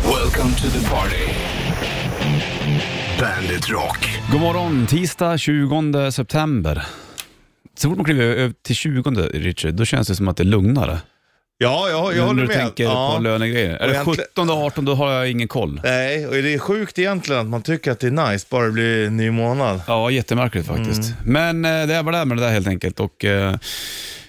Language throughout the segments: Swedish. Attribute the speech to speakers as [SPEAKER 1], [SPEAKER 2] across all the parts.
[SPEAKER 1] Welcome to the party. Bandit Rock.
[SPEAKER 2] God morgon, tisdag 20 september. Så fort man kliver över till 20 Richard, då känns det som att det är lugnare.
[SPEAKER 3] Ja, jag, jag
[SPEAKER 2] när
[SPEAKER 3] håller
[SPEAKER 2] du
[SPEAKER 3] med.
[SPEAKER 2] tänker
[SPEAKER 3] ja.
[SPEAKER 2] på lönegrejer. Är
[SPEAKER 3] Och
[SPEAKER 2] det
[SPEAKER 3] egentligen-
[SPEAKER 2] 17 och 18 då har jag ingen koll.
[SPEAKER 3] Nej, och det är sjukt egentligen att man tycker att det är nice bara det blir en ny månad.
[SPEAKER 2] Ja, jättemärkligt faktiskt.
[SPEAKER 3] Mm.
[SPEAKER 2] Men eh, det är väl det här med det där helt enkelt. Och, eh,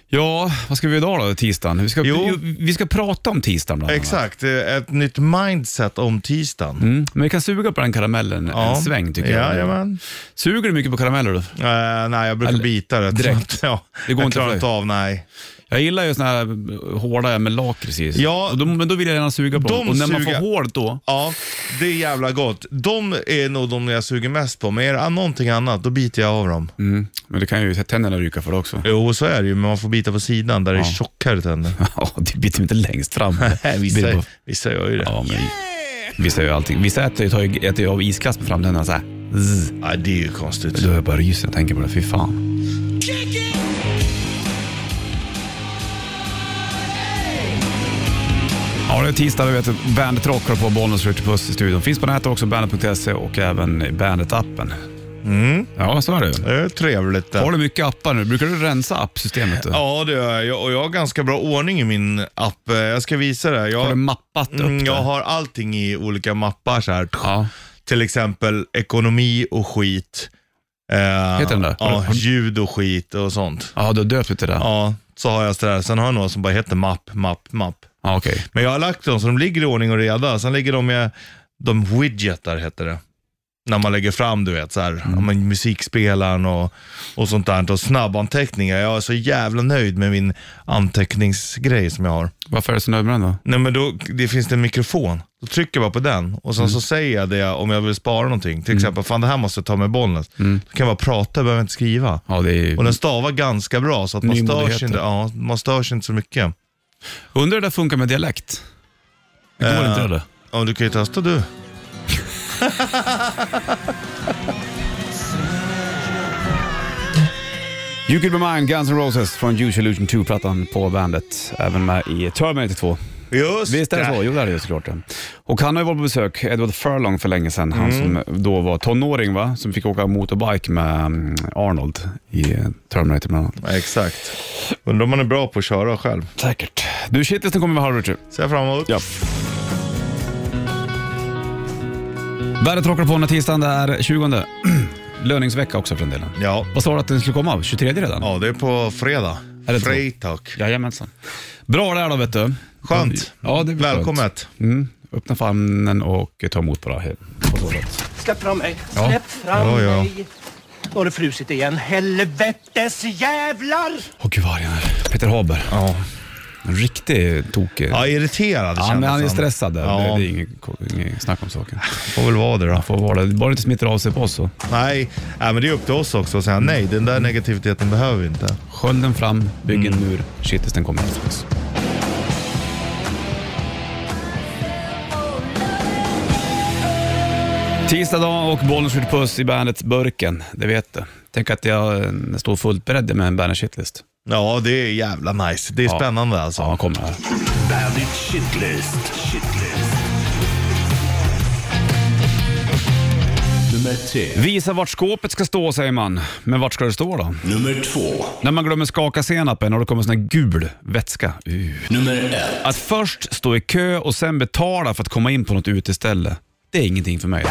[SPEAKER 2] ja, vad ska vi göra idag då, tisdagen? Vi ska,
[SPEAKER 3] Jo.
[SPEAKER 2] jo, vi ska prata om tisdagen bland annat.
[SPEAKER 3] Exakt, eh, ett nytt mindset om tisdagen.
[SPEAKER 2] Mm. Men vi kan suga på den karamellen en sväng tycker jag.
[SPEAKER 3] Jajamän.
[SPEAKER 2] Suger du mycket på karameller? du?
[SPEAKER 3] Eh, nej, jag brukar
[SPEAKER 2] Eller-
[SPEAKER 3] bita rätt.
[SPEAKER 2] direkt.
[SPEAKER 3] Ja,
[SPEAKER 2] Det går
[SPEAKER 3] jag
[SPEAKER 2] inte
[SPEAKER 3] klarar
[SPEAKER 2] för
[SPEAKER 3] inte av, nej.
[SPEAKER 2] Jag gillar ju såna här hårda med lakrits i.
[SPEAKER 3] Ja.
[SPEAKER 2] Och då- Men då vill jag gärna suga på
[SPEAKER 3] De
[SPEAKER 2] dem. Och när man
[SPEAKER 3] suga-
[SPEAKER 2] får hårt då,
[SPEAKER 3] Ja, det är jävla gott. De är nog de jag suger mest på, men är det någonting annat, då biter jag av dem.
[SPEAKER 2] Mm. Men det kan ju tänderna ryka för det också.
[SPEAKER 3] Jo, så är det ju, men man får bita på sidan där det är tjockare tänder.
[SPEAKER 2] Ja, det biter inte längst fram.
[SPEAKER 3] Nej,
[SPEAKER 2] Det är
[SPEAKER 3] vissa,
[SPEAKER 2] bara-
[SPEAKER 3] vissa gör ju det.
[SPEAKER 2] Ja, men vissa gör ju allting. Vissa äter ju, tar ju, äter ju av iskast på framtänderna såhär.
[SPEAKER 3] Ja, det är ju konstigt.
[SPEAKER 2] Då jag bara ryser och tänker på det. Fy fan. Ja, det är tisdag, vi vet att Bandet Rock har på Bollnäs Ritchie Puss i studion. Finns på nätet också, bandet.se och även Bandet-appen.
[SPEAKER 3] Mm.
[SPEAKER 2] Ja, så är det.
[SPEAKER 3] Det är trevligt. det.
[SPEAKER 2] Har du mycket appar nu? Brukar du rensa appsystemet? Då?
[SPEAKER 3] Ja, det gör jag. jag. Och jag har ganska bra ordning i min app. Eh, Jag ska visa det. Jag,
[SPEAKER 2] Har du mappat upp
[SPEAKER 3] Mm,
[SPEAKER 2] det?
[SPEAKER 3] jag har allting i olika mappar så här.
[SPEAKER 2] Ja.
[SPEAKER 3] Till exempel ekonomi och skit. Eh, Heter
[SPEAKER 2] den det? Har
[SPEAKER 3] Ja,
[SPEAKER 2] du- har du-
[SPEAKER 3] ljud och skit och sånt.
[SPEAKER 2] Ja, du har döpt det till det?
[SPEAKER 3] Ja, så har jag sådär. Sen har jag några som bara heter mapp, mapp, mapp.
[SPEAKER 2] Ja, okej.
[SPEAKER 3] Men jag har lagt dem så de ligger i ordning och reda. Sen ligger de med de widgetar heter det. När man lägger fram, du vet, så här, ja, men musikspelaren och, och sånt där. Och snabbanteckningar. Jag är så jävla nöjd med min anteckningsgrej som jag har.
[SPEAKER 2] Varför är du så nöjd med den då?
[SPEAKER 3] Nej, men då det finns det en mikrofon. Då trycker jag bara på den och sen så säger jag det om jag vill spara någonting. Till exempel, fan det här måste jag ta med bollen. Då kan jag bara prata, jag behöver inte skriva.
[SPEAKER 2] Ja, det är...
[SPEAKER 3] Och den stavar ganska bra så att man stör,
[SPEAKER 2] Nymodigheter.
[SPEAKER 3] sig inte, ja, man stör sig inte så mycket.
[SPEAKER 2] Undrar hur det där funkar med dialekt? Det går
[SPEAKER 3] Eh,
[SPEAKER 2] inte det?
[SPEAKER 3] Ja, men du kan ju testa du.
[SPEAKER 2] You could be mine, Guns N' Roses från Use Illusion 2-plattan på bandet. Även med i Terminator 2.
[SPEAKER 3] Just
[SPEAKER 2] Visst är det så? Jo, det är det ju såklart. ja. Och han har ju varit på besök, Edward Furlong för länge sedan. Han som då var tonåring, va? Som fick åka motorbike med mm, Arnold i eh, Terminator bland annat.
[SPEAKER 3] Ja, exakt. Undrar om man är bra på att köra själv.
[SPEAKER 2] Säkert. Du, shitlisten kommer med halv Richard.
[SPEAKER 3] Ser jag fram emot.
[SPEAKER 2] Ja. Bandet rockar på den här tisdagen, det är 20. Löningsvecka också för en del.
[SPEAKER 3] Ja.
[SPEAKER 2] Vad sa du att den skulle komma av? 23 redan?
[SPEAKER 3] ja, det är på fredag.
[SPEAKER 2] Är det så?
[SPEAKER 3] Fredag.
[SPEAKER 2] Jajamensan. Bra det här då vet du.
[SPEAKER 3] Skönt.
[SPEAKER 2] Ja, det blir skönt.
[SPEAKER 3] Välkommet.
[SPEAKER 2] Mm. Öppna famnen och ta emot bara. På så sätt.
[SPEAKER 4] Släpp fram mig!
[SPEAKER 2] Ja.
[SPEAKER 4] Släpp fram
[SPEAKER 3] Ja, ja.
[SPEAKER 4] mig! Nu har det frusit igen. Helvetes jävlar!
[SPEAKER 2] Åh gud vad arg han är. Peter Haber.
[SPEAKER 3] Ja,
[SPEAKER 2] En riktig tokig.
[SPEAKER 3] ja irriterad
[SPEAKER 2] ja,
[SPEAKER 3] kändes
[SPEAKER 2] men han är
[SPEAKER 3] han.
[SPEAKER 2] stressad. där.
[SPEAKER 3] Ja.
[SPEAKER 2] Det, det är inget, inget snack om saken.
[SPEAKER 3] Får väl vara det då.
[SPEAKER 2] Får vara det. Bara det inte smittar av sig på oss så.
[SPEAKER 3] Nej, nej, men det är upp till oss också att säga nej. Den där negativiteten behöver vi inte.
[SPEAKER 2] Skölden fram, bygg en mur. Shitlisten kommer efter oss. Tisdag dag och bollen skjuter puss i bandet Burken, det vet du. Tänk att jag eh, står fullt beredd med en bandet shitlist.
[SPEAKER 3] Ja, det är jävla nice. Det är spännande alltså.
[SPEAKER 2] Ja, han kommer här.
[SPEAKER 1] Bandit Shitlist. Shitlist. Nummer tre.
[SPEAKER 2] Visa vart skåpet ska stå säger man, men vart ska det stå då?
[SPEAKER 1] Nummer två.
[SPEAKER 2] När man glömmer skaka senapen och det kommer sån här gul vätska. Uh.
[SPEAKER 1] Nummer ett.
[SPEAKER 2] Att först stå i kö och sen betala för att komma in på något uteställe, det är ingenting för mig.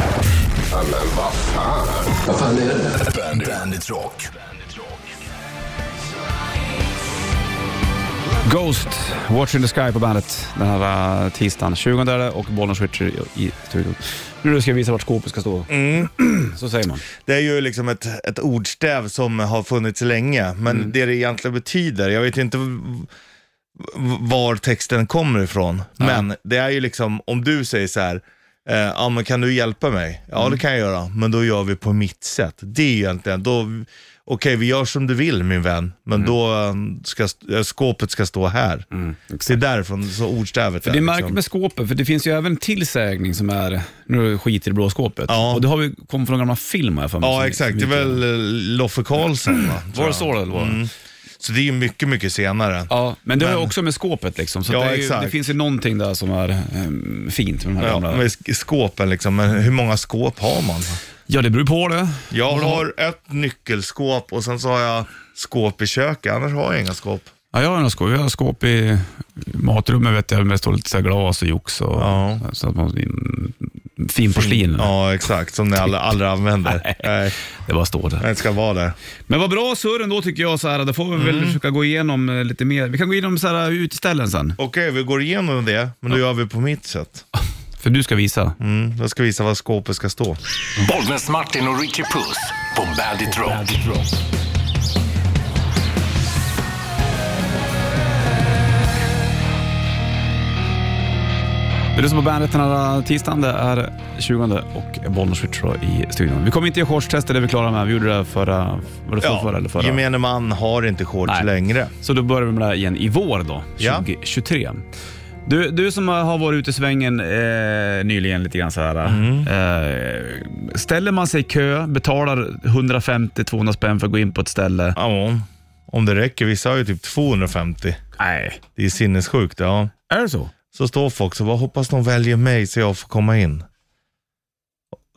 [SPEAKER 1] Vad fan är det? Bandit, Bandit Rock.
[SPEAKER 2] Ghost, Watch in the Sky på bandet den här eh, tisdagen. 20 är det och Bollnäs Switcher i i studion. Nu ska jag visa vart skåpet ska stå.
[SPEAKER 3] Mm.
[SPEAKER 2] Så säger man.
[SPEAKER 3] Det är ju liksom ett, ett ordstäv som har funnits länge, men
[SPEAKER 2] Mm.
[SPEAKER 3] det det egentligen betyder, jag vet inte v- v- var texten kommer ifrån, men det är ju liksom om du säger så här, eh, ja men kan du hjälpa mig? Ja
[SPEAKER 2] Mm.
[SPEAKER 3] det kan jag göra, men då gör vi på mitt sätt. Det är ju egentligen, då, okej vi gör som du vill min vän, men
[SPEAKER 2] Mm.
[SPEAKER 3] då eh, ska, eh, skåpet ska stå här. det är därifrån så ordstävet liksom-
[SPEAKER 2] För det är märkligt med skåpet, för det finns ju även en tillsägning som är nu skiter i det blå skåpet.
[SPEAKER 3] Ja.
[SPEAKER 2] Och det har vi kommit från en gammal film här för mig.
[SPEAKER 3] Ja
[SPEAKER 2] som-
[SPEAKER 3] exakt, det är
[SPEAKER 2] som-
[SPEAKER 3] väl eh, Loffe Karlsson va? tror
[SPEAKER 2] Var det
[SPEAKER 3] jag.
[SPEAKER 2] så eller vad?
[SPEAKER 3] Så det är ju mycket, mycket senare.
[SPEAKER 2] Ja, men det har ju
[SPEAKER 3] Men-
[SPEAKER 2] också med skåpet liksom. Så
[SPEAKER 3] Ja,
[SPEAKER 2] det, är ju,
[SPEAKER 3] exakt.
[SPEAKER 2] det finns ju någonting där som är ehm, fint med de här
[SPEAKER 3] Ja,
[SPEAKER 2] gamla.
[SPEAKER 3] med sk- skåpen liksom, men hur många skåp har man?
[SPEAKER 2] Ja, det beror på det.
[SPEAKER 3] Jag har ett nyckelskåp och sen så har jag skåp i köket, annars har jag inga skåp.
[SPEAKER 2] Ja, jag har några skåp. Jag har skåp i matrummet vet jag, med står lite så här glas och jox och
[SPEAKER 3] Ja.
[SPEAKER 2] så att man, fin porslin. Typ.
[SPEAKER 3] Ja, exakt, som ni alla, aldrig använder. Nej,
[SPEAKER 2] Det bara står där.
[SPEAKER 3] det ska vara där.
[SPEAKER 2] Men vad bra surr ändå tycker jag. Så här, då får vi
[SPEAKER 3] Mm.
[SPEAKER 2] väl försöka gå igenom eh, lite mer. Vi kan gå igenom så här, uteställen sen,
[SPEAKER 3] Okej, vi går igenom det, men då gör vi på mitt sätt.
[SPEAKER 2] för du ska visa.
[SPEAKER 3] Mm, jag ska visa var skåpet ska stå.
[SPEAKER 1] Bollnäs Martin och Richie Puss på Bandit Rock.
[SPEAKER 2] Du lyssnar på bandet den här eh, tisdagen. Det är 20 och Bollnäs Switch då i studion. Vi kommer inte göra shortstester, det är vi klara med. Vi gjorde det förra, var det förra, eller förra?
[SPEAKER 3] gemene man har inte shorts
[SPEAKER 2] Nej.
[SPEAKER 3] längre.
[SPEAKER 2] Så då börjar vi med det här igen i vår då,
[SPEAKER 3] Ja.
[SPEAKER 2] 2023. Du, du som har varit ute i svängen eh, nyligen lite grann så här. Eh, ställer man sig i kö, betalar 150-200 spänn för att gå in på ett ställe.
[SPEAKER 3] Ja, om det räcker. Vissa har ju typ 250.
[SPEAKER 2] Nej.
[SPEAKER 3] Det är sinnessjukt. Ja.
[SPEAKER 2] Är det så?
[SPEAKER 3] Så står folk så bara, hoppas de väljer mig så jag får komma in.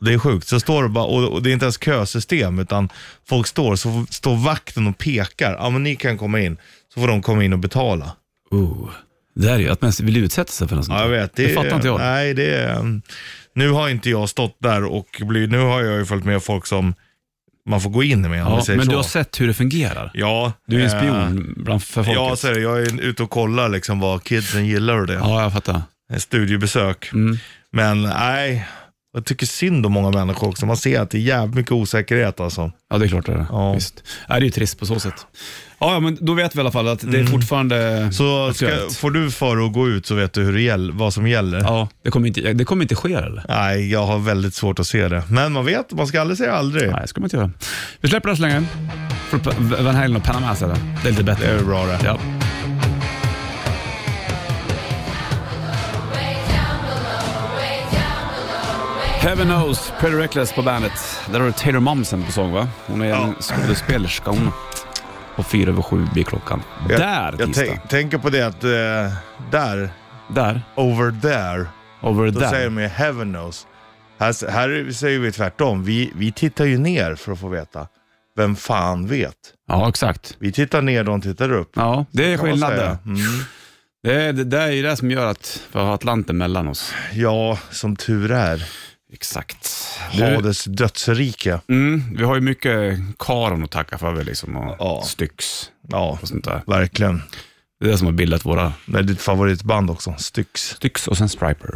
[SPEAKER 3] Det är sjukt. Så står det bara, och och det är inte ens kösystem, utan folk står, så står vakten och pekar. Ja, men ni kan komma in. Så får de komma in och betala.
[SPEAKER 2] Oh. Det här är ju att man vill utsätta sig för något sånt.
[SPEAKER 3] Ja, jag vet.
[SPEAKER 2] Det fattar inte jag.
[SPEAKER 3] Nej, det är, nu har inte jag stått där och blivit, nu har jag ju följt med folk som man får gå in med, om vi
[SPEAKER 2] ja,
[SPEAKER 3] säger
[SPEAKER 2] men
[SPEAKER 3] så.
[SPEAKER 2] du har sett hur det fungerar.
[SPEAKER 3] Ja.
[SPEAKER 2] Du är en
[SPEAKER 3] eh,
[SPEAKER 2] spion bland för folket.
[SPEAKER 3] Ja, så är det. Jag är ute och kollar liksom vad kidsen gillar och det.
[SPEAKER 2] ja, jag fattar.
[SPEAKER 3] Eh, Studiebesök.
[SPEAKER 2] Mm.
[SPEAKER 3] Men nej, jag tycker synd om många människor också. Man ser att det är jävligt mycket osäkerhet alltså.
[SPEAKER 2] Ja, det är klart det är det.
[SPEAKER 3] Ja.
[SPEAKER 2] Visst. Nej, det är ju trist på så sätt. Ja, ja, men då vet vi i alla fall att det är fortfarande
[SPEAKER 3] Mm. Så ska,
[SPEAKER 2] aktuellt.
[SPEAKER 3] får du för att gå ut så vet du hur det gäll, vad som gäller.
[SPEAKER 2] Ja, det kommer inte, det kommer inte ske eller?
[SPEAKER 3] Nej, jag har väldigt svårt att se det. Men man vet, man ska aldrig säga aldrig.
[SPEAKER 2] Nej, det ska man inte göra. Vi släpper den så länge. Får du P- Van Halen och Panama sen. Det är lite bättre.
[SPEAKER 3] Det är bra det.
[SPEAKER 2] Ja. Heaven knows, Pretty Reckless på bandet. Där har du Taylor Momsen på sång va? Hon är en skådespelerska hon. Och fyra över sju blir klockan.
[SPEAKER 3] Jag,
[SPEAKER 2] där
[SPEAKER 3] jag
[SPEAKER 2] tisdag.
[SPEAKER 3] tänk- tänker på det att eh, där,
[SPEAKER 2] Där.
[SPEAKER 3] over there,
[SPEAKER 2] Over
[SPEAKER 3] då
[SPEAKER 2] där.
[SPEAKER 3] säger de ju heaven knows. Här, här säger vi tvärtom. Vi, vi tittar ju ner för att få veta. Vem fan vet?
[SPEAKER 2] Ja, exakt.
[SPEAKER 3] Vi tittar ner, de tittar upp.
[SPEAKER 2] Ja, det är
[SPEAKER 3] kan man
[SPEAKER 2] skillnad
[SPEAKER 3] säga.
[SPEAKER 2] där.
[SPEAKER 3] Mm.
[SPEAKER 2] Det är det, det är ju det som gör att vi har Atlanten mellan oss.
[SPEAKER 3] Ja, som tur är.
[SPEAKER 2] Exakt. Du,
[SPEAKER 3] Hades dödsrike.
[SPEAKER 2] mm, vi har ju mycket karon att tacka för väl, liksom, och
[SPEAKER 3] Ja.
[SPEAKER 2] Styx
[SPEAKER 3] Ja,
[SPEAKER 2] och sånt där.
[SPEAKER 3] verkligen.
[SPEAKER 2] Det är det som har bildat våra
[SPEAKER 3] Det är ditt favoritband också, Styx.
[SPEAKER 2] Styx och sen Striper.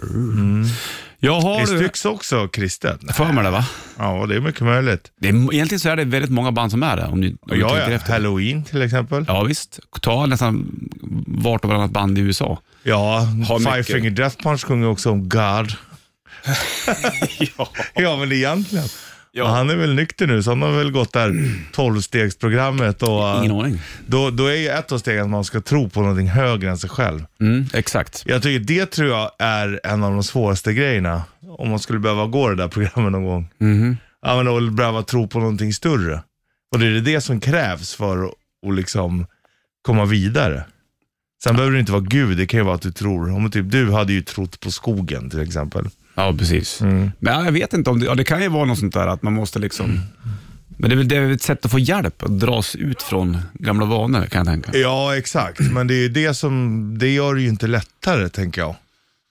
[SPEAKER 2] Jag har
[SPEAKER 3] Mm. Är
[SPEAKER 2] du
[SPEAKER 3] Styx också kristet?
[SPEAKER 2] för mig det va?
[SPEAKER 3] Ja, det är mycket möjligt.
[SPEAKER 2] Det är, egentligen så är det väldigt många band som är det om ni, om ni
[SPEAKER 3] Ja,
[SPEAKER 2] tänker
[SPEAKER 3] ja.
[SPEAKER 2] efter.
[SPEAKER 3] Halloween till exempel.
[SPEAKER 2] Ja visst, ta nästan vart och varannat band i USA.
[SPEAKER 3] Ja,
[SPEAKER 2] Har
[SPEAKER 3] Five
[SPEAKER 2] mycket.
[SPEAKER 3] Finger Death Punch sjunger också om God. ja, men egentligen.
[SPEAKER 2] Ja.
[SPEAKER 3] Men Han är väl nykter nu, så han har väl gått där tolvstegsprogrammet. Och, eh,
[SPEAKER 2] Ingen aning.
[SPEAKER 3] då, då är ju ett av stegen att man ska tro på någonting högre än sig själv.
[SPEAKER 2] Mm, exakt.
[SPEAKER 3] Jag tycker det tror jag är en av de svåraste grejerna. Om man skulle behöva gå det där programmet någon gång. Ja, men och behöva tro på någonting större. Och det är det som krävs för att att liksom komma vidare. Sen behöver det inte vara Gud, det kan ju vara att du tror. Om typ, du hade ju trott på skogen till exempel.
[SPEAKER 2] Ja, precis.
[SPEAKER 3] Mm.
[SPEAKER 2] Men ja, jag vet inte om det, ja, det kan ju vara något sånt där att man måste liksom... Men det är väl det är väl ett sätt att få hjälp, att dras ut från gamla vanor kan jag tänka.
[SPEAKER 3] Ja, exakt. Men det är ju det som, det gör det ju inte lättare tänker jag.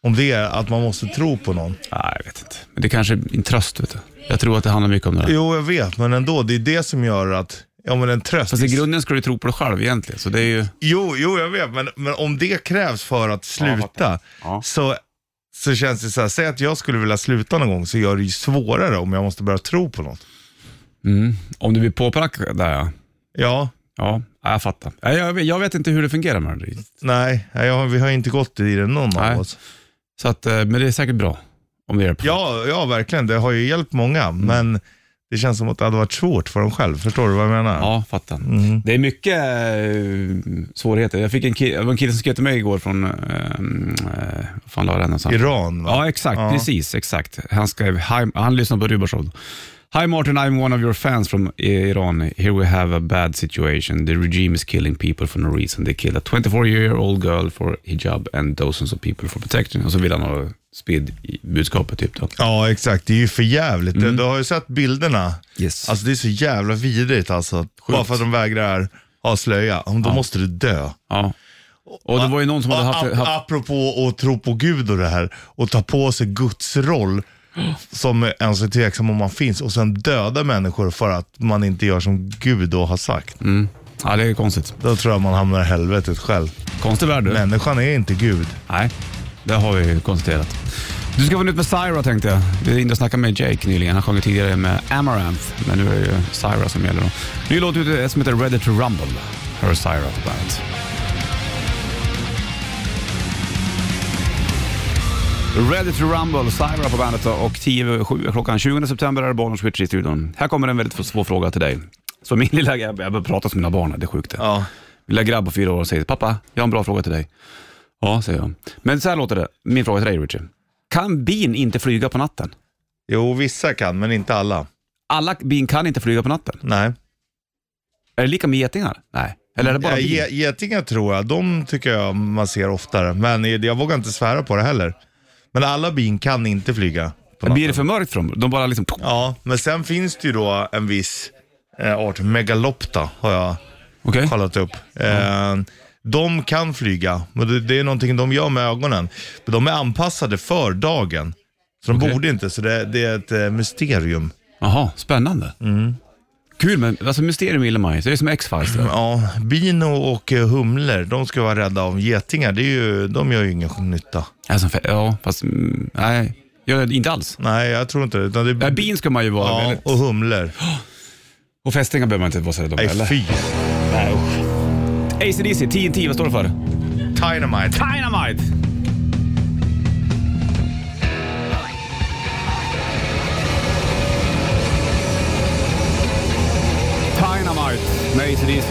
[SPEAKER 3] Om det är att man måste tro på någon.
[SPEAKER 2] Nej, jag vet inte. Men det kanske är en tröst, vet du. Jag tror att det handlar mycket om det där.
[SPEAKER 3] Jo, jag vet, men ändå, det är det som gör att, ja men en tröst.
[SPEAKER 2] Fast i grunden ska du tro på dig själv egentligen, så det är ju...
[SPEAKER 3] Jo, jo jag vet, men, men om det krävs för att sluta
[SPEAKER 2] Ja.
[SPEAKER 3] så, så känns det så här, säg att jag skulle vilja sluta någon gång så gör det ju svårare om jag måste börja tro på något.
[SPEAKER 2] Mm. Om du blir påprackad där ja.
[SPEAKER 3] Ja,
[SPEAKER 2] Ja, ja, jag fattar. Ja, Jag vet, jag vet inte hur det fungerar med det. riktigt.
[SPEAKER 3] nej, jag, har- vi har inte gått i det någon
[SPEAKER 2] Nej.
[SPEAKER 3] av oss.
[SPEAKER 2] Så att, eh, men det är säkert bra om det hjälper.
[SPEAKER 3] Ja, ja, verkligen, det har ju hjälpt många,
[SPEAKER 2] Mm.
[SPEAKER 3] men det känns som att det hade varit svårt för dem själv. Förstår du vad jag menar?
[SPEAKER 2] Ja, fattar. Det är mycket eh, svårigheter. Jag fick en kille, det var en kille som skrev till mig igår från, eh, eh, vad fan la jag den någonstans?
[SPEAKER 3] Iran, va?
[SPEAKER 2] Ja, exakt. Precis, exakt. Han skrev, "Hi- han lyssnar på Rubashov. Hi Martin, I'm one of your fans from I- Iran. Here we have a bad situation. The regime is killing people for no reason. They killed a 24-year-old girl for hijab and dozens of people for protection. Och så vill han ha sprid i budskapet typ då.
[SPEAKER 3] Ja, exakt. Det är ju för jävligt. Du, du har ju sett bilderna.
[SPEAKER 2] Mm. Yes.
[SPEAKER 3] Alltså det är så jävla vidrigt alltså. Bara för att de vägrar ha slöja. Om Då måste du dö.
[SPEAKER 2] Ja. Och det var ju någon som hade
[SPEAKER 3] Och
[SPEAKER 2] haft...
[SPEAKER 3] ap-
[SPEAKER 2] haft
[SPEAKER 3] Apropå att tro på Gud och det här. Och ta på sig Guds roll. Som ens är tveksam om man finns. Och sen döda människor för att man inte gör som Gud då har sagt.
[SPEAKER 2] Mm. ja, det är konstigt.
[SPEAKER 3] Då tror jag man hamnar i helvetet själv.
[SPEAKER 2] Konstig värld du.
[SPEAKER 3] Människan är inte Gud.
[SPEAKER 2] Nej, det har vi ju konstaterat. Du ska få nytt med Syra tänkte jag. Vi ringde och snackade med Jake nyligen. Han sjöng tidigare med Amaranth, men nu är det ju Syra som gäller då. Ny låt ute som heter Ready to Rumble. Här är Syra på bandet. Ready to Rumble, Syra på bandet då. och 10 över sju är klockan 20 september är det Bollnäs Switch i studion. Här kommer en väldigt svår fråga till dig. Så min lilla grabb, jag börjar prata som mina barn, här, det är sjukt det.
[SPEAKER 3] Ja.
[SPEAKER 2] Lilla grabb på fyra år säger pappa, jag har en bra fråga till dig. Ja, säger jag. Men så här låter det. Min fråga till dig, Richie. Kan bin inte flyga på natten?
[SPEAKER 3] Jo, vissa kan, men inte alla.
[SPEAKER 2] Alla bin kan inte flyga på natten.
[SPEAKER 3] Nej.
[SPEAKER 2] Är det lika med getingar? Nej. Eller är det bara
[SPEAKER 3] Ja,
[SPEAKER 2] bin?
[SPEAKER 3] ge- getingar tror jag, de tycker jag man ser oftare. Men jag vågar inte svära på det heller. Men alla bin kan inte flyga. På natten.
[SPEAKER 2] Blir det för mörkt för dem? De bara liksom... Okej.
[SPEAKER 3] Ja, men sen finns det ju då en viss eh, art, megalopta har jag kollat upp. Eh, de kan flyga, men det, det är någonting de gör med ögonen. Men de är anpassade för dagen. Så de
[SPEAKER 2] Okej.
[SPEAKER 3] borde inte, så det, det är ett eh, mysterium.
[SPEAKER 2] Jaha, spännande.
[SPEAKER 3] Mm.
[SPEAKER 2] Kul, men alltså mysterium gillar man ju. Så Det är som X-Files. det.
[SPEAKER 3] Ja, bin och och, eh, humlor, de ska vara rädda om getingar. Det är ju, de gör ju ingen nytta.
[SPEAKER 2] Alltså, fe- ja, fast... mm, Nej, jag, inte alls.
[SPEAKER 3] Nej, jag tror inte det. Utan det
[SPEAKER 2] Ja, bin ska man ju vara
[SPEAKER 3] ja,
[SPEAKER 2] väldigt...
[SPEAKER 3] och humlor.
[SPEAKER 2] Och fästingar behöver man inte vara så rädd om,
[SPEAKER 3] Nej,
[SPEAKER 2] eller?
[SPEAKER 3] fy.
[SPEAKER 2] AC/DC, 10-10, vad står det för?
[SPEAKER 3] Dynamite.
[SPEAKER 2] Dynamite! Dynamite med ACDC.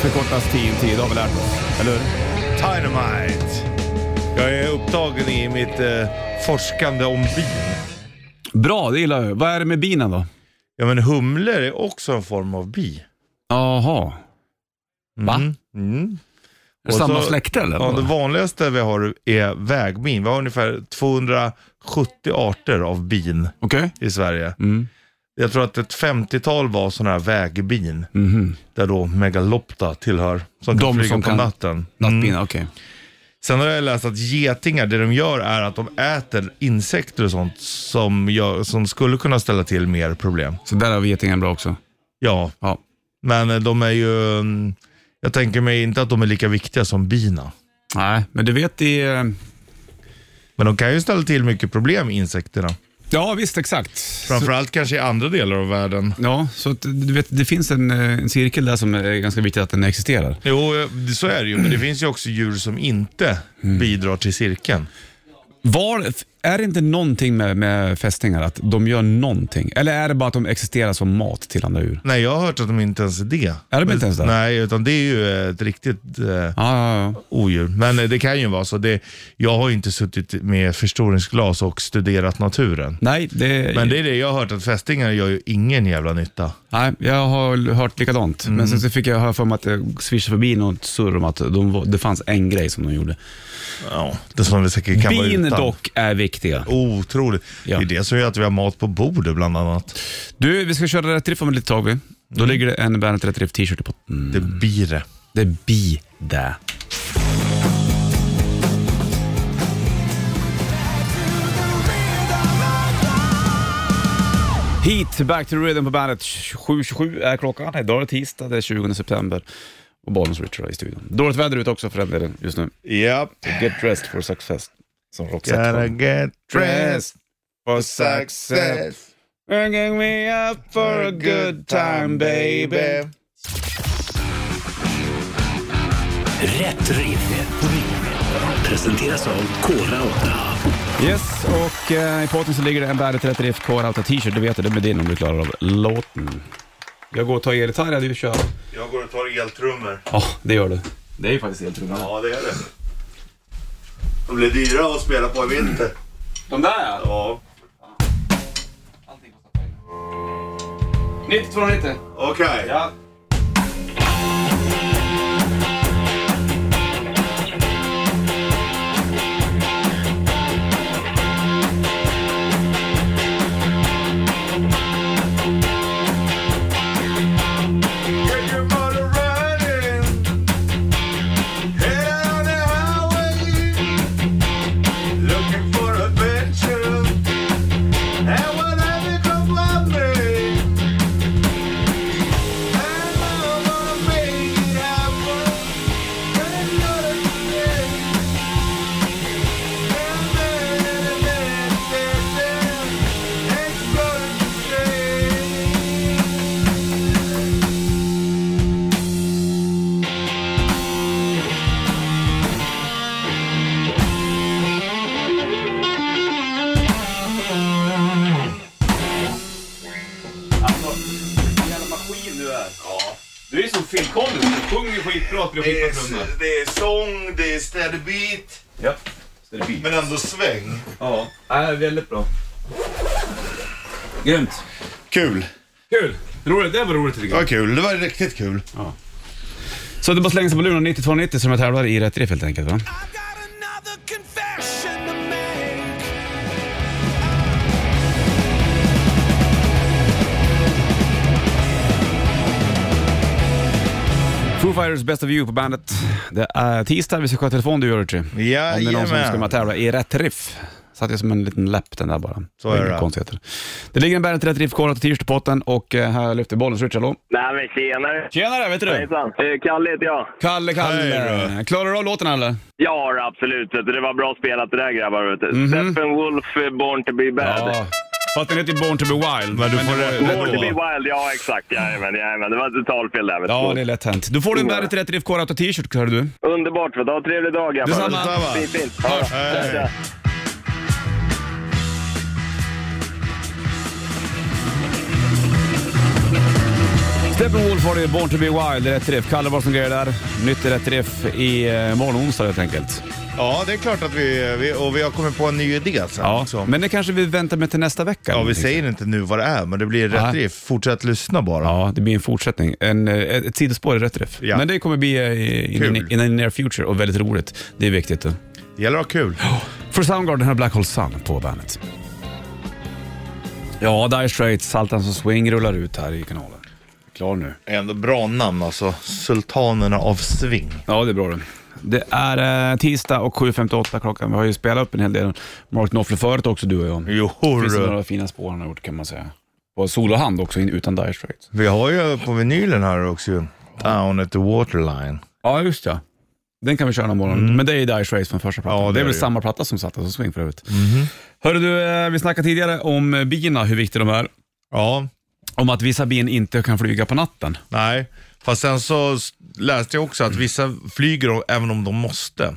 [SPEAKER 2] Förkortas 10-10, det har vi lärt oss. Eller hur?
[SPEAKER 3] Dynamite. Jag är upptagen i mitt eh, forskande om bin.
[SPEAKER 2] Bra, det gillar jag. Vad är det med binen då?
[SPEAKER 3] Ja, men humlor är också en form av bi.
[SPEAKER 2] Jaha. Va?
[SPEAKER 3] Mm. Mm.
[SPEAKER 2] Är det
[SPEAKER 3] Och
[SPEAKER 2] samma
[SPEAKER 3] så-
[SPEAKER 2] släkte eller?
[SPEAKER 3] Ja, det vanligaste vi har är vägbin. Vi har ungefär 270 arter av bin
[SPEAKER 2] Okej.
[SPEAKER 3] i Sverige.
[SPEAKER 2] Mm.
[SPEAKER 3] Jag tror att ett 50-tal var sådana här vägbin,
[SPEAKER 2] Mhm.
[SPEAKER 3] där då megalopta tillhör, som kan
[SPEAKER 2] De
[SPEAKER 3] flyga
[SPEAKER 2] som
[SPEAKER 3] på
[SPEAKER 2] kan-
[SPEAKER 3] natten.
[SPEAKER 2] Nattbina, okej.
[SPEAKER 3] Sen har jag läst att getingar, det de gör är att de äter insekter och sånt som, gör, som skulle kunna ställa till mer problem.
[SPEAKER 2] Så där har vi getingen bra också.
[SPEAKER 3] Ja,
[SPEAKER 2] Ja.
[SPEAKER 3] men eh, de är ju... mm, Jag tänker mig inte att de är lika viktiga som bina.
[SPEAKER 2] Nej, men du vet i... eh,
[SPEAKER 3] Men de kan ju ställa till mycket problem, insekterna.
[SPEAKER 2] Ja, visst exakt.
[SPEAKER 3] Framförallt kanske i andra delar av världen.
[SPEAKER 2] Ja, så att, du vet, det finns en, eh, en cirkel där som är ganska viktigt att den existerar.
[SPEAKER 3] Jo, eh, det- så är det ju. Men det finns ju också djur som inte
[SPEAKER 2] Mm.
[SPEAKER 3] bidrar till cirkeln.
[SPEAKER 2] Var, f- är det inte någonting med, med fästingar, att de gör någonting? Eller är det bara att de existerar som mat till andra djur?
[SPEAKER 3] Nej, jag har hört att de inte ens är det.
[SPEAKER 2] Är de inte ens det?
[SPEAKER 3] Nej, utan det är ju ett riktigt... Eh,
[SPEAKER 2] Ja, Ah, ja, ja.
[SPEAKER 3] odjur. Men eh, det kan ju vara så. Det, jag har ju inte suttit med förstoringsglas och studerat naturen.
[SPEAKER 2] Nej, det,
[SPEAKER 3] Men det är det jag har hört, att fästingar gör ju ingen jävla nytta.
[SPEAKER 2] nej, jag har hört likadant.
[SPEAKER 3] Mm.
[SPEAKER 2] Men sen så fick jag höra för mig att jag swishade förbi något surr om att de, var- det fanns en grej som de gjorde.
[SPEAKER 3] Ja, det som vi säkert kan vara
[SPEAKER 2] Bin
[SPEAKER 3] utan.
[SPEAKER 2] dock är viktiga.
[SPEAKER 3] Otroligt.
[SPEAKER 2] Ja.
[SPEAKER 3] Det är det som gör att vi har mat på bordet bland annat.
[SPEAKER 2] Du, vi ska köra rätt riff om ett litet tag. vi.
[SPEAKER 3] Mm.
[SPEAKER 2] Då ligger det en Bandet Rätt Riff t-shirt i potten.
[SPEAKER 3] Det blir det.
[SPEAKER 2] Det blir det. Hit, back to the rhythm på bandet. 7.27 är klockan. Idag är det tisdag, det är 20 september. Och Bollnäs Richard är i studion. Dåligt väder ute också för den delen just nu.
[SPEAKER 3] Japp.
[SPEAKER 2] Get dressed for success. Som Roxette
[SPEAKER 3] Gotta
[SPEAKER 2] sjöng.
[SPEAKER 3] get dressed
[SPEAKER 2] Dressed for
[SPEAKER 3] for
[SPEAKER 2] success.
[SPEAKER 3] success
[SPEAKER 2] Bringing me up for a good time baby.
[SPEAKER 1] Rätt riff. Presenteras av Kora 8.
[SPEAKER 2] Yes, och eh, i potten så ligger det en Bandet Rätt Riff Core Outta T-shirt. Du vet det, det blir din om du klarar av låten. Jag går och tar elgitarr, du kör.
[SPEAKER 3] Jag går och tar eltrummor.
[SPEAKER 2] Ja, det gör du. Det är ju faktiskt eltrumman.
[SPEAKER 3] Ja, det är det. De blir dyra att spela på i vinter.
[SPEAKER 2] De där ja.
[SPEAKER 3] Ja.
[SPEAKER 2] Allting kostar pengar. Nytt från lite.
[SPEAKER 3] Okej.
[SPEAKER 2] Ja. Du är som Phil Collins, du sjunger skitbra, spelar
[SPEAKER 3] Det är, det är sång, det är städbeat,
[SPEAKER 2] Ja. Ska det bli?
[SPEAKER 3] men ändå sväng.
[SPEAKER 2] Ja, äh, väldigt bra. Grymt.
[SPEAKER 3] Kul.
[SPEAKER 2] Kul. Roligt, det var roligt tycker
[SPEAKER 3] Det var kul. Det var riktigt kul.
[SPEAKER 2] Så det bara slängs på luren 9290 som jag tävlar i rätt riff helt enkelt va?
[SPEAKER 5] I got another confession to make.
[SPEAKER 2] Foo Fighters Best of You på bandet. Det är tisdag, vi ska sköta telefon du Jurity. Om det är någon som
[SPEAKER 3] Jajamän.
[SPEAKER 2] ska med och tävla i rätt riff. Satt jag som en liten läpp den där bara.
[SPEAKER 3] Så är det.
[SPEAKER 2] Inga konstigheter. Det ligger en bandet rätt riff kvar till t potten och eh, här lyfter bollen. Switch, hallå?
[SPEAKER 6] Nej men tjenare!
[SPEAKER 2] Tjenare, vet du?
[SPEAKER 6] Hejsan! Eh, Kalle heter jag.
[SPEAKER 2] Kalle, Kalle.
[SPEAKER 3] Hej
[SPEAKER 2] Klarar du av låten eller?
[SPEAKER 6] Ja då, absolut. vet du. Det var bra spelat det där grabbar. Vet du.
[SPEAKER 2] Mhm.
[SPEAKER 6] Steppenwolf, eh, Born to be bad.
[SPEAKER 2] Fast den heter ju Born to be wild.
[SPEAKER 3] Men du får
[SPEAKER 2] eh, det var
[SPEAKER 3] rätt
[SPEAKER 2] ju-
[SPEAKER 6] Born to be
[SPEAKER 3] ändå.
[SPEAKER 6] wild, ja exakt. Jajamän, jajamän. Det var ett talfel där. Vet du.
[SPEAKER 2] Ja, det är lätt hänt. Då får du en bandet rätt riff kvar till t-shirt, hör du.
[SPEAKER 6] Underbart! Vet du. Ha en trevlig dag grabbar.
[SPEAKER 2] Detsamma.
[SPEAKER 3] Detsamma.
[SPEAKER 6] Fint, fint. Ja, då.
[SPEAKER 3] Hej.
[SPEAKER 6] Tja, tja.
[SPEAKER 2] Steppenwolf har det Born to be wild, rätt riff. Kalle var som grejer där. Nytt rätt riff i eh, morgon onsdag helt enkelt.
[SPEAKER 3] Ja, det är klart att vi, vi... Och vi har kommit på en ny idé sen
[SPEAKER 2] Ja,
[SPEAKER 3] också.
[SPEAKER 2] men det kanske vi väntar med till nästa vecka.
[SPEAKER 3] Ja, vi
[SPEAKER 2] Liksom.
[SPEAKER 3] säger inte nu vad det är, men det blir
[SPEAKER 2] Nej.
[SPEAKER 3] rätt riff. Fortsätt lyssna bara.
[SPEAKER 2] Ja, det blir en fortsättning. En, eh, ett, ett sidospår i rätt riff.
[SPEAKER 3] Ja.
[SPEAKER 2] Men det kommer bli eh, in, in,
[SPEAKER 3] Kul.
[SPEAKER 2] in the near future och väldigt roligt. Det är viktigt. då.
[SPEAKER 3] Det gäller att ha kul.
[SPEAKER 2] För Soundgarden har Black Hole Sun på bandet. Ja, Dire Straits, Saltans och Swing rullar ut här i kanalen. Klar nu.
[SPEAKER 3] Ändå bra namn alltså. Sultanerna av sving.
[SPEAKER 2] Ja, det är bra det. Det är eh, tisdag och 7.58 klockan. Vi har ju spelat upp en hel del Mark Knopfler förut också, du och jag.
[SPEAKER 3] Jo,
[SPEAKER 2] Det finns några fina spår han har gjort kan man säga. Och solohand också in- utan Dire Straits.
[SPEAKER 3] Vi har ju på vinylen här också ju. Down at the waterline.
[SPEAKER 2] Ja, just ja. Den kan vi köra någon morgon. Men det är ju Dire Straits från första plattan.
[SPEAKER 3] Ja,
[SPEAKER 2] det, Mhm.
[SPEAKER 3] det
[SPEAKER 2] är
[SPEAKER 3] är
[SPEAKER 2] väl
[SPEAKER 3] det ju.
[SPEAKER 2] samma platta som satt som Swing för övrigt. Hörru du, eh, vi snackade tidigare om eh, bina, hur viktiga de är.
[SPEAKER 3] Ja,
[SPEAKER 2] Om att vissa bin inte kan flyga på natten.
[SPEAKER 3] nej. Fast sen så s- läste jag också att vissa flyger o- även om de måste.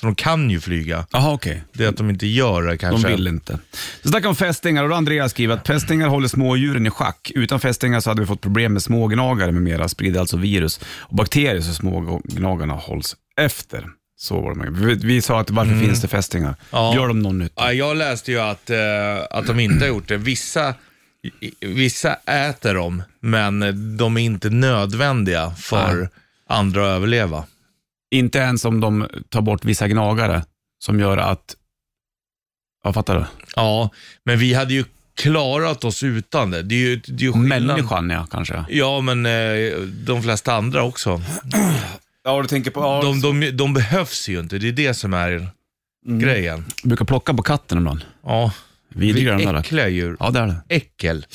[SPEAKER 3] Så de kan ju flyga.
[SPEAKER 2] Jaha, okej.
[SPEAKER 3] Det är att de inte gör det
[SPEAKER 2] De
[SPEAKER 3] kanske.
[SPEAKER 2] vill inte. Så snackar om fästingar och då har Andreas skriver att fästingar håller smådjuren i schack. Utan fästingar så hade vi fått problem med smågnagare med mera, sprider alltså virus och bakterier så smågnagarna hålls efter. Så var det. med- Vi, vi sa att varför finns det fästingar?
[SPEAKER 3] Ja.
[SPEAKER 2] Gör de någon nytta?
[SPEAKER 3] Ja, jag läste ju att, eh, att de inte har gjort det. Vissa, i- vissa äter dem, men de är inte nödvändiga för
[SPEAKER 2] Nej.
[SPEAKER 3] andra att överleva.
[SPEAKER 2] Inte ens om de tar bort vissa gnagare som gör att... Jag fattar du?
[SPEAKER 3] Ja, men vi hade ju klarat oss utan det. Det är ju, det är ju skillnad.
[SPEAKER 2] Människan ja, kanske.
[SPEAKER 3] Ja, men eh, de flesta andra också.
[SPEAKER 2] Ja, du tänker på...
[SPEAKER 3] De, de, de behövs ju inte, det är det som är
[SPEAKER 2] Mm.
[SPEAKER 3] grejen.
[SPEAKER 2] brukar plocka på katten ibland.
[SPEAKER 3] Ja, vi
[SPEAKER 2] Vidriga de
[SPEAKER 3] är
[SPEAKER 2] där.
[SPEAKER 3] äckliga djur.
[SPEAKER 2] Ja, det är det.
[SPEAKER 3] Äckel.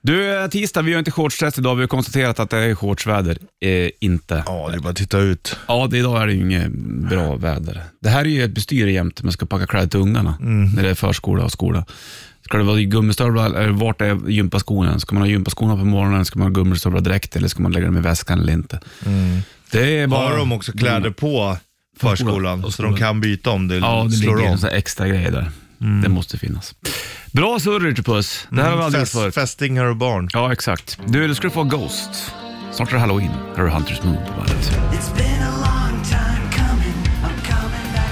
[SPEAKER 2] Du, eh, tisdag, vi gör inte shortstest idag. Vi har konstaterat att det är shortsväder. Eh, inte.
[SPEAKER 3] Ja, det är bara att titta ut.
[SPEAKER 2] Ja, det, idag är det ju inget bra väder. Det här är ju ett bestyr jämt, man ska packa kläder till ungarna
[SPEAKER 3] Mm.
[SPEAKER 2] när det är förskola och skola. Ska det vara i gummistövlar, eller vart är gympaskon? Ska man ha gympaskorna på morgonen, ska man ha gummistövlar direkt eller ska man lägga dem i väskan eller inte? Det är bara... Mm.
[SPEAKER 3] Mm. Har de också kläder på förskolan, så de kan byta om det
[SPEAKER 2] Ja, det
[SPEAKER 3] slår Mm.
[SPEAKER 2] ligger
[SPEAKER 3] om.
[SPEAKER 2] en sån här extra grej där. Det måste finnas. Bra surr, Puss. Det här har vi aldrig gjort
[SPEAKER 3] Fäst,
[SPEAKER 2] förut.
[SPEAKER 3] Mm. fästingar och barn.
[SPEAKER 2] Ja, exakt. Du, du skulle få Ghost. Snart är det halloween. Här har du Hunters Moon på bandet.
[SPEAKER 5] It's been a long time coming. I'm coming back.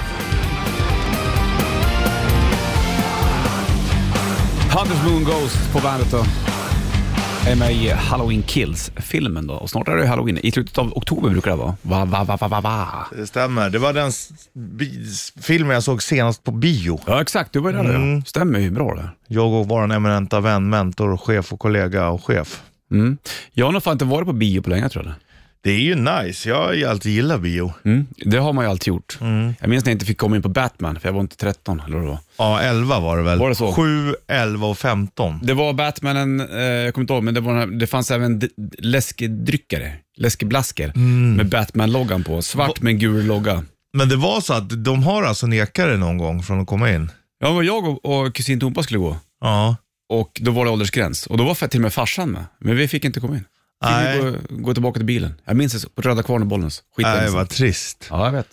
[SPEAKER 2] Hunters Moon Ghost på bandet då. är med i Halloween Kills-filmen då. Och snart är det halloween. I slutet av oktober brukar det vara. Va, va, va, va, va, va.
[SPEAKER 3] Det stämmer. Det var den s- bi- filmen jag såg senast på bio.
[SPEAKER 2] Ja, exakt. Du var ju där ja. Stämmer ju bra det.
[SPEAKER 3] Jag och vår eminenta vän, mentor, chef och kollega och chef.
[SPEAKER 2] Mm. Jag har nog fan inte varit på bio på länge tror jag.
[SPEAKER 3] Det är ju nice. Jag har ju alltid gillat bio.
[SPEAKER 2] Mm. Det har man ju alltid gjort.
[SPEAKER 3] Mm.
[SPEAKER 2] Jag minns när jag inte fick komma in på Batman, för jag var inte 13 eller vad det var.
[SPEAKER 3] Ja, 11 var det väl?
[SPEAKER 2] Var det så?
[SPEAKER 3] 7, 11 och 15.
[SPEAKER 2] Det var Batmanen, eh, jag kommer inte ihåg, men det, var den här, det fanns även d- d- läskedryckare, läskeblasker
[SPEAKER 3] Mm.
[SPEAKER 2] med Batman-loggan på. Svart med en gul logga.
[SPEAKER 3] Men det var så att de har alltså nekare någon gång från att komma in.
[SPEAKER 2] Ja, men jag och, och kusin Tompa skulle gå
[SPEAKER 3] Ja.
[SPEAKER 2] och då var det åldersgräns. Och då var till och med farsan med, men vi fick inte komma in. Fick
[SPEAKER 3] Nej.
[SPEAKER 2] vi gå, gå tillbaka till bilen. Jag minns det, så, på Röda Kvarn och Bollnäs.
[SPEAKER 3] Nej,
[SPEAKER 2] Skitlängst.
[SPEAKER 3] vad trist.
[SPEAKER 2] Ja, jag vet.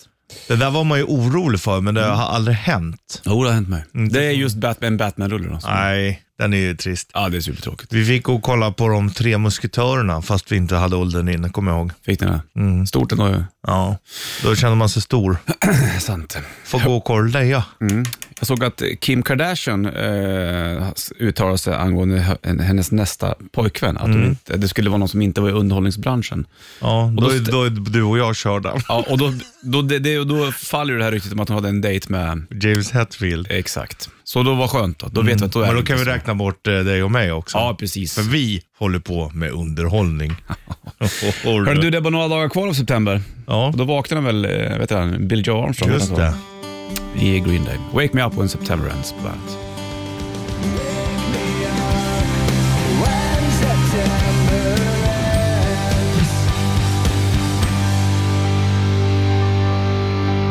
[SPEAKER 3] Det där var man ju orolig för, men det har aldrig hänt.
[SPEAKER 2] Jo, det har hänt mig.
[SPEAKER 3] Mm,
[SPEAKER 2] Det är just Batman, Batman-rullen. Alltså.
[SPEAKER 3] Nej, den är ju trist.
[SPEAKER 2] Ja, det är supertråkigt.
[SPEAKER 3] Vi fick gå och kolla på de tre musketörerna, fast vi inte hade åldern inne, kommer jag ihåg.
[SPEAKER 2] Fick ni det?
[SPEAKER 3] Mm.
[SPEAKER 2] Stort ändå ju.
[SPEAKER 3] Ja, då kände man sig stor.
[SPEAKER 2] Sant.
[SPEAKER 3] Får gå och kolla, ja.
[SPEAKER 2] Mm. Jag såg att Kim Kardashian eh, uttalade sig angående hö- hennes nästa pojkvän. Att hon inte, det skulle vara någon som inte var i underhållningsbranschen.
[SPEAKER 3] Ja, då,
[SPEAKER 2] då
[SPEAKER 3] är-
[SPEAKER 2] st-
[SPEAKER 3] då är du och jag körda.
[SPEAKER 2] Ja, och då, då, det, det, och då faller ju det här ryktet om att hon hade en dejt med...
[SPEAKER 3] James Hetfield.
[SPEAKER 2] Exakt. Så då var skönt då. Då vet vi att Eh, Mm. då är
[SPEAKER 3] Men
[SPEAKER 2] det
[SPEAKER 3] då
[SPEAKER 2] inte
[SPEAKER 3] kan vi
[SPEAKER 2] så.
[SPEAKER 3] räkna bort eh, dig och mig också.
[SPEAKER 2] Ja, precis.
[SPEAKER 3] För vi håller på med underhållning.
[SPEAKER 2] Hörru du, det är bara några dagar kvar av september.
[SPEAKER 3] Ja,
[SPEAKER 2] Och då vaknade väl, eh, vet du, Bill Joe Armstrong
[SPEAKER 3] just det.
[SPEAKER 2] i Green Day. Wake Me Up When September Ends på bandet.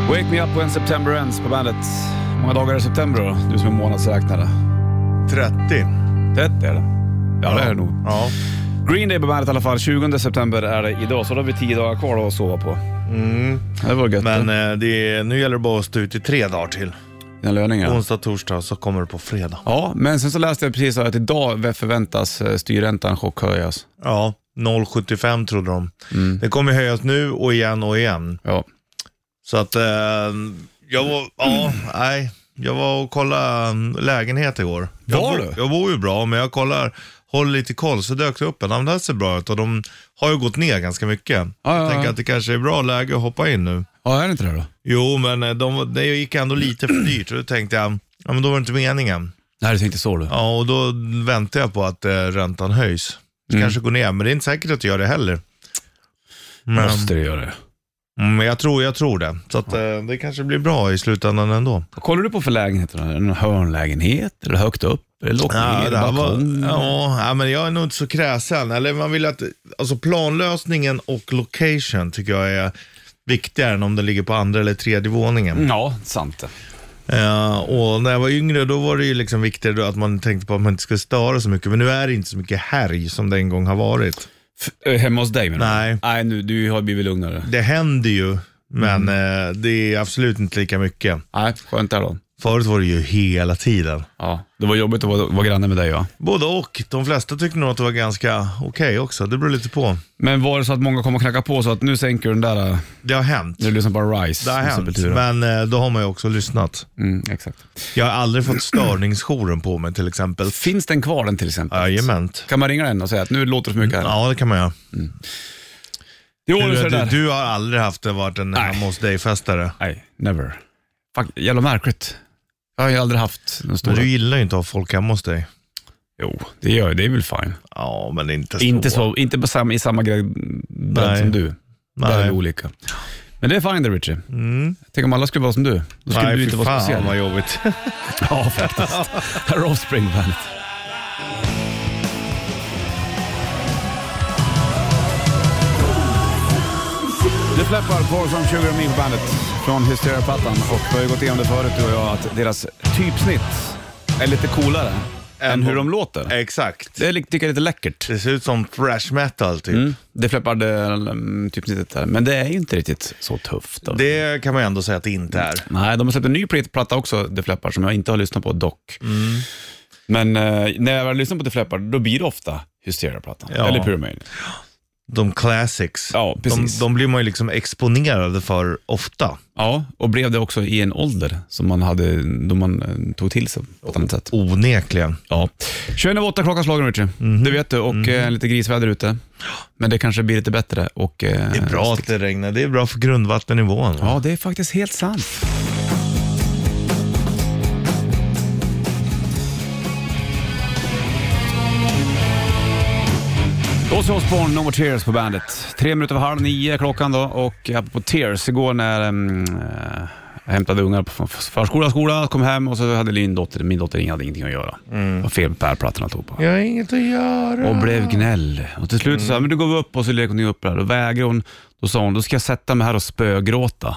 [SPEAKER 2] Wake Me Up When September Ends på bandet. Hur många dagar är det september då? Du som är månadsräknare.
[SPEAKER 3] 30.
[SPEAKER 2] 30 är det. Ja, det är det nog.
[SPEAKER 3] Ja.
[SPEAKER 2] Green Day på bandet i alla fall. 20 september är det idag, så då har vi 10 dagar kvar då att sova på. Mm. Det var gött.
[SPEAKER 3] Men
[SPEAKER 2] Men,
[SPEAKER 3] eh, det är, nu gäller det bara att stå ut i tre dagar till.
[SPEAKER 2] Dina löningar.
[SPEAKER 3] Onsdag, torsdag så kommer det på fredag.
[SPEAKER 2] Ja, men sen så läste jag precis att idag förväntas eh, styrräntan chockhöjas.
[SPEAKER 3] Ja, 0,75 trodde de.
[SPEAKER 2] Mm.
[SPEAKER 3] Det kommer höjas nu och igen och igen.
[SPEAKER 2] Ja.
[SPEAKER 3] Så att eh, jag var, ja, nej. Jag var och kollade mm, lägenhet igår. Jag
[SPEAKER 2] Var
[SPEAKER 3] bo-
[SPEAKER 2] du?
[SPEAKER 3] Jag bor ju bra, men jag kollar, håller lite koll, så dök det upp en. Ja, men Det här ser bra ut och de har ju gått ner ganska mycket.
[SPEAKER 2] Ja,
[SPEAKER 3] jag
[SPEAKER 2] ja,
[SPEAKER 3] tänker
[SPEAKER 2] ja.
[SPEAKER 3] att det kanske är bra läge att hoppa in nu.
[SPEAKER 2] ja, är det inte det då?
[SPEAKER 3] Jo, men eh, de, det gick ändå lite för dyrt och då tänkte jag, ja men då var det inte meningen.
[SPEAKER 2] Nej, du tänkte så du.
[SPEAKER 3] Ja, och då väntar jag på att eh, räntan höjs. Det kanske går ner, men det är inte säkert att det gör det heller. Men,
[SPEAKER 2] Måste du göra det.
[SPEAKER 3] mm, men jag tror, jag tror det. Så att, eh, det kanske blir bra i slutändan ändå.
[SPEAKER 2] Vad kollar du på för lägenheter? då? Är det En hörnlägenhet? Eller högt upp? Eller lågt
[SPEAKER 3] Ja,
[SPEAKER 2] ner?
[SPEAKER 3] det här var,
[SPEAKER 2] balkong?
[SPEAKER 3] ja, ja, men jag är nog inte så kräsen. Eller man vill att, alltså planlösningen och location tycker jag är viktigare än om den ligger på andra eller tredje våningen.
[SPEAKER 2] ja, sant det.
[SPEAKER 3] Eh, och när jag var yngre då var det ju liksom viktigare då att man tänkte på att man inte skulle störa så mycket. Men nu är det inte så mycket härj som det en gång har varit.
[SPEAKER 2] F- eh, hemma hos dig menar du?
[SPEAKER 3] Nej.
[SPEAKER 2] Nej, nu, du har blivit lugnare.
[SPEAKER 3] Det händer ju, men
[SPEAKER 2] Mm.
[SPEAKER 3] eh, det är absolut inte lika mycket.
[SPEAKER 2] Nej, skönt där då.
[SPEAKER 3] Förut var det ju hela tiden.
[SPEAKER 2] Ja, det var jobbigt att vara, vara granne med dig va?
[SPEAKER 3] Både och. De flesta tyckte nog att det var ganska okej också. Det beror lite på.
[SPEAKER 2] Men var det så att många kom och knackade på så att nu sänker du den där, eh,
[SPEAKER 3] Det har hänt.
[SPEAKER 2] nu lyssnar på Rise?
[SPEAKER 3] Det har
[SPEAKER 2] med
[SPEAKER 3] hänt,
[SPEAKER 2] Sepultura?
[SPEAKER 3] men eh, då har man ju också lyssnat.
[SPEAKER 2] Mm, exakt.
[SPEAKER 3] Jag har aldrig fått störningsjouren på mig till exempel.
[SPEAKER 2] Finns den kvar den till exempel?
[SPEAKER 3] Jajamän.
[SPEAKER 2] Kan man ringa den och säga att nu låter det för mycket här?
[SPEAKER 3] Ja, det kan man göra.
[SPEAKER 2] Jo, det är
[SPEAKER 3] Du,
[SPEAKER 2] så det
[SPEAKER 3] du,
[SPEAKER 2] där.
[SPEAKER 3] du har aldrig haft det varit en
[SPEAKER 2] Nej.
[SPEAKER 3] hemma hos dig-festare.
[SPEAKER 2] Nej, never. Fuck, jävla märkligt. Jag har ju aldrig haft någon stor...
[SPEAKER 3] Men du gillar ju inte att ha folk hemma hos dig.
[SPEAKER 2] Jo, det gör jag. Det är väl
[SPEAKER 3] Alltså,
[SPEAKER 2] fine.
[SPEAKER 3] Ja, men inte så.
[SPEAKER 2] Inte, så, inte på samma, i samma grej
[SPEAKER 3] Nej.
[SPEAKER 2] som du. Där är vi
[SPEAKER 3] Nej. Mm.
[SPEAKER 2] olika. Men det är fine det, Richie. Tänk om alla skulle vara som du. Då skulle
[SPEAKER 3] Nej,
[SPEAKER 2] du
[SPEAKER 3] fy
[SPEAKER 2] inte vara
[SPEAKER 3] fan
[SPEAKER 2] speciell.
[SPEAKER 3] vad jobbigt.
[SPEAKER 2] Ja, faktiskt. Här är Offspring på bandet. Du fläppar Paul from Sugar and Me på bandet från Hysteria-plattan. Och vi har ju gått igenom det förut du och jag, att deras typsnitt är lite coolare än hur de låter.
[SPEAKER 3] Exakt.
[SPEAKER 2] Det är li- tycker jag är lite läckert.
[SPEAKER 3] Det ser ut som thrash metal typ.
[SPEAKER 2] Mm. Det fläppar um, typsnittet där, men det är ju inte riktigt så tufft. Då.
[SPEAKER 3] Det kan man ju ändå säga att det inte är.
[SPEAKER 2] Nej, de har släppt en ny platta också, The Flappar, som jag inte har lyssnat på dock. Men eh, när jag väl lyssnar på The Flappar, då blir det ofta Hysteria-plattan,
[SPEAKER 3] Ja.
[SPEAKER 2] eller Pyromania.
[SPEAKER 3] de classics.
[SPEAKER 2] Ja,
[SPEAKER 3] de,
[SPEAKER 2] precis.
[SPEAKER 3] de blir man ju liksom exponerade för ofta.
[SPEAKER 2] Ja, och blev det också i en ålder som man hade då man eh, tog till sig på ett annat sätt.
[SPEAKER 3] Onekligen.
[SPEAKER 2] Ja. 21 över åtta klockan slagen Richie.
[SPEAKER 3] Mhm.
[SPEAKER 2] Det vet du och eh, lite grisväder ute. Men det kanske blir lite bättre. Och, eh,
[SPEAKER 3] Det är bra att det regnar. Det är bra för grundvattennivån.
[SPEAKER 2] Ja, det är faktiskt helt sant. Ozzy Osbourne, No More Tears på bandet. Tre minuter över halv nio klockan då och på Tears, igår när um, jag hämtade ungar från förskola, skola, kom hem och så hade min dotter, min dotter Inga hade ingenting att göra. Det var fel på pärlplattan alltihopa.
[SPEAKER 3] Jag har inget att göra.
[SPEAKER 2] Och blev gnäll. Och till slut så här, men du går vi upp och så leker ni upp där. Då vägrade hon. Då sa hon, då ska jag sätta mig här och spögråta.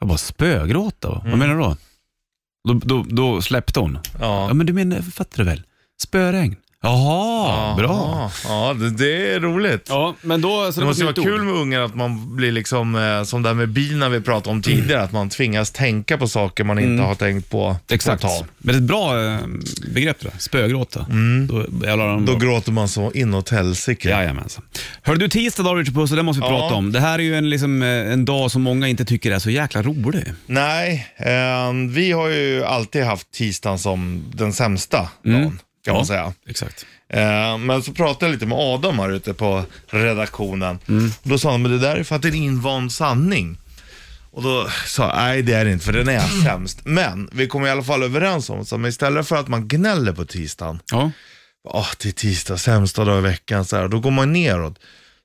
[SPEAKER 2] Jag bara, spögråta?
[SPEAKER 3] Mm.
[SPEAKER 2] Vad menar du då? Då, då, då släppte hon. Ja.
[SPEAKER 3] Ja.
[SPEAKER 2] men du menar, fattar du väl? Spöregn. Jaha, bra.
[SPEAKER 3] Ja, Ja, det, det är roligt.
[SPEAKER 2] Ja, men då... Så
[SPEAKER 3] Det måste ju
[SPEAKER 2] var ett nytt
[SPEAKER 3] vara kul
[SPEAKER 2] ord.
[SPEAKER 3] med ungar att man blir liksom, eh, som det här med bina vi pratade om tidigare, att man tvingas tänka på saker man inte har tänkt på
[SPEAKER 2] Exakt.
[SPEAKER 3] på ett tag.
[SPEAKER 2] Men det är ett bra eh, begrepp det där, spögråta. Mm. Då jävlar de...
[SPEAKER 3] Då gråter man så inåt helsike.
[SPEAKER 2] Jajamensan. Hörde du tisdag då Richard Puss, och det måste vi
[SPEAKER 3] Ja.
[SPEAKER 2] prata om. Det här är ju en, liksom, eh, en dag som många inte tycker är så jäkla rolig.
[SPEAKER 3] Nej, eh, vi har ju alltid haft tisdagen som den sämsta dagen, kan man säga.
[SPEAKER 2] Exakt.
[SPEAKER 3] Eh, men så pratade jag lite med Adam här ute på redaktionen. Då sa han, men det där är för att det är en invand sanning. Och då sa jag, nej det är det inte, för den är sämst. Men vi kom i alla fall överens om, så, men istället för att man gnäller på tisdagen,
[SPEAKER 2] Ja.
[SPEAKER 3] oh, det är tisdag, sämsta dag i veckan, så här, då går man neråt.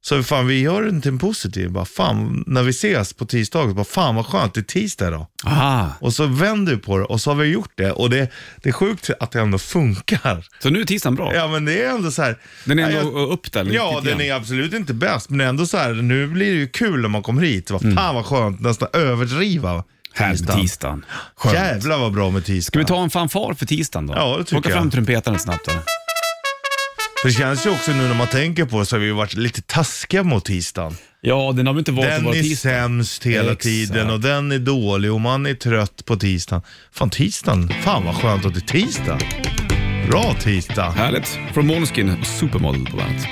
[SPEAKER 3] Så fan, vi gör den till en positiv, bara, fan, när vi ses på tisdagen, bara, fan vad skönt, det är tisdag idag.
[SPEAKER 2] Aha.
[SPEAKER 3] Och så vänder vi på det och så har vi gjort det och det, det är sjukt att det ändå funkar.
[SPEAKER 2] Så nu är tisdagen bra?
[SPEAKER 3] Ja men det är ändå så här.
[SPEAKER 2] Den är
[SPEAKER 3] Nej,
[SPEAKER 2] ändå upp där lite
[SPEAKER 3] Ja,
[SPEAKER 2] grann.
[SPEAKER 3] den är absolut inte bäst, men det är ändå så här, nu blir det ju kul när man kommer hit. Vad fan vad skönt, nästan överdriva
[SPEAKER 2] Mm. Här med
[SPEAKER 3] tisdagen.
[SPEAKER 2] tisdagen. Skönt.
[SPEAKER 3] Jävlar vad bra med
[SPEAKER 2] Ska vi
[SPEAKER 3] tisdag.
[SPEAKER 2] ta en fanfar för tisdagen då?
[SPEAKER 3] Ja, det tycker
[SPEAKER 2] Plocka
[SPEAKER 3] jag.
[SPEAKER 2] fram trumpetaren snabbt. Då.
[SPEAKER 3] För det känns ju också nu när man tänker på det så har vi ju varit lite taskiga mot tisdagen.
[SPEAKER 2] Ja, den har väl inte varit att
[SPEAKER 3] Den
[SPEAKER 2] vara
[SPEAKER 3] är
[SPEAKER 2] tisdag?
[SPEAKER 3] sämst hela
[SPEAKER 2] Exakt.
[SPEAKER 3] tiden och den är dålig och man är trött på tisdagen. Fan tisdagen, fan vad skönt att det är tisdag. Bra tisdag.
[SPEAKER 2] Härligt. Från Måneskin och Supermodel på bandet.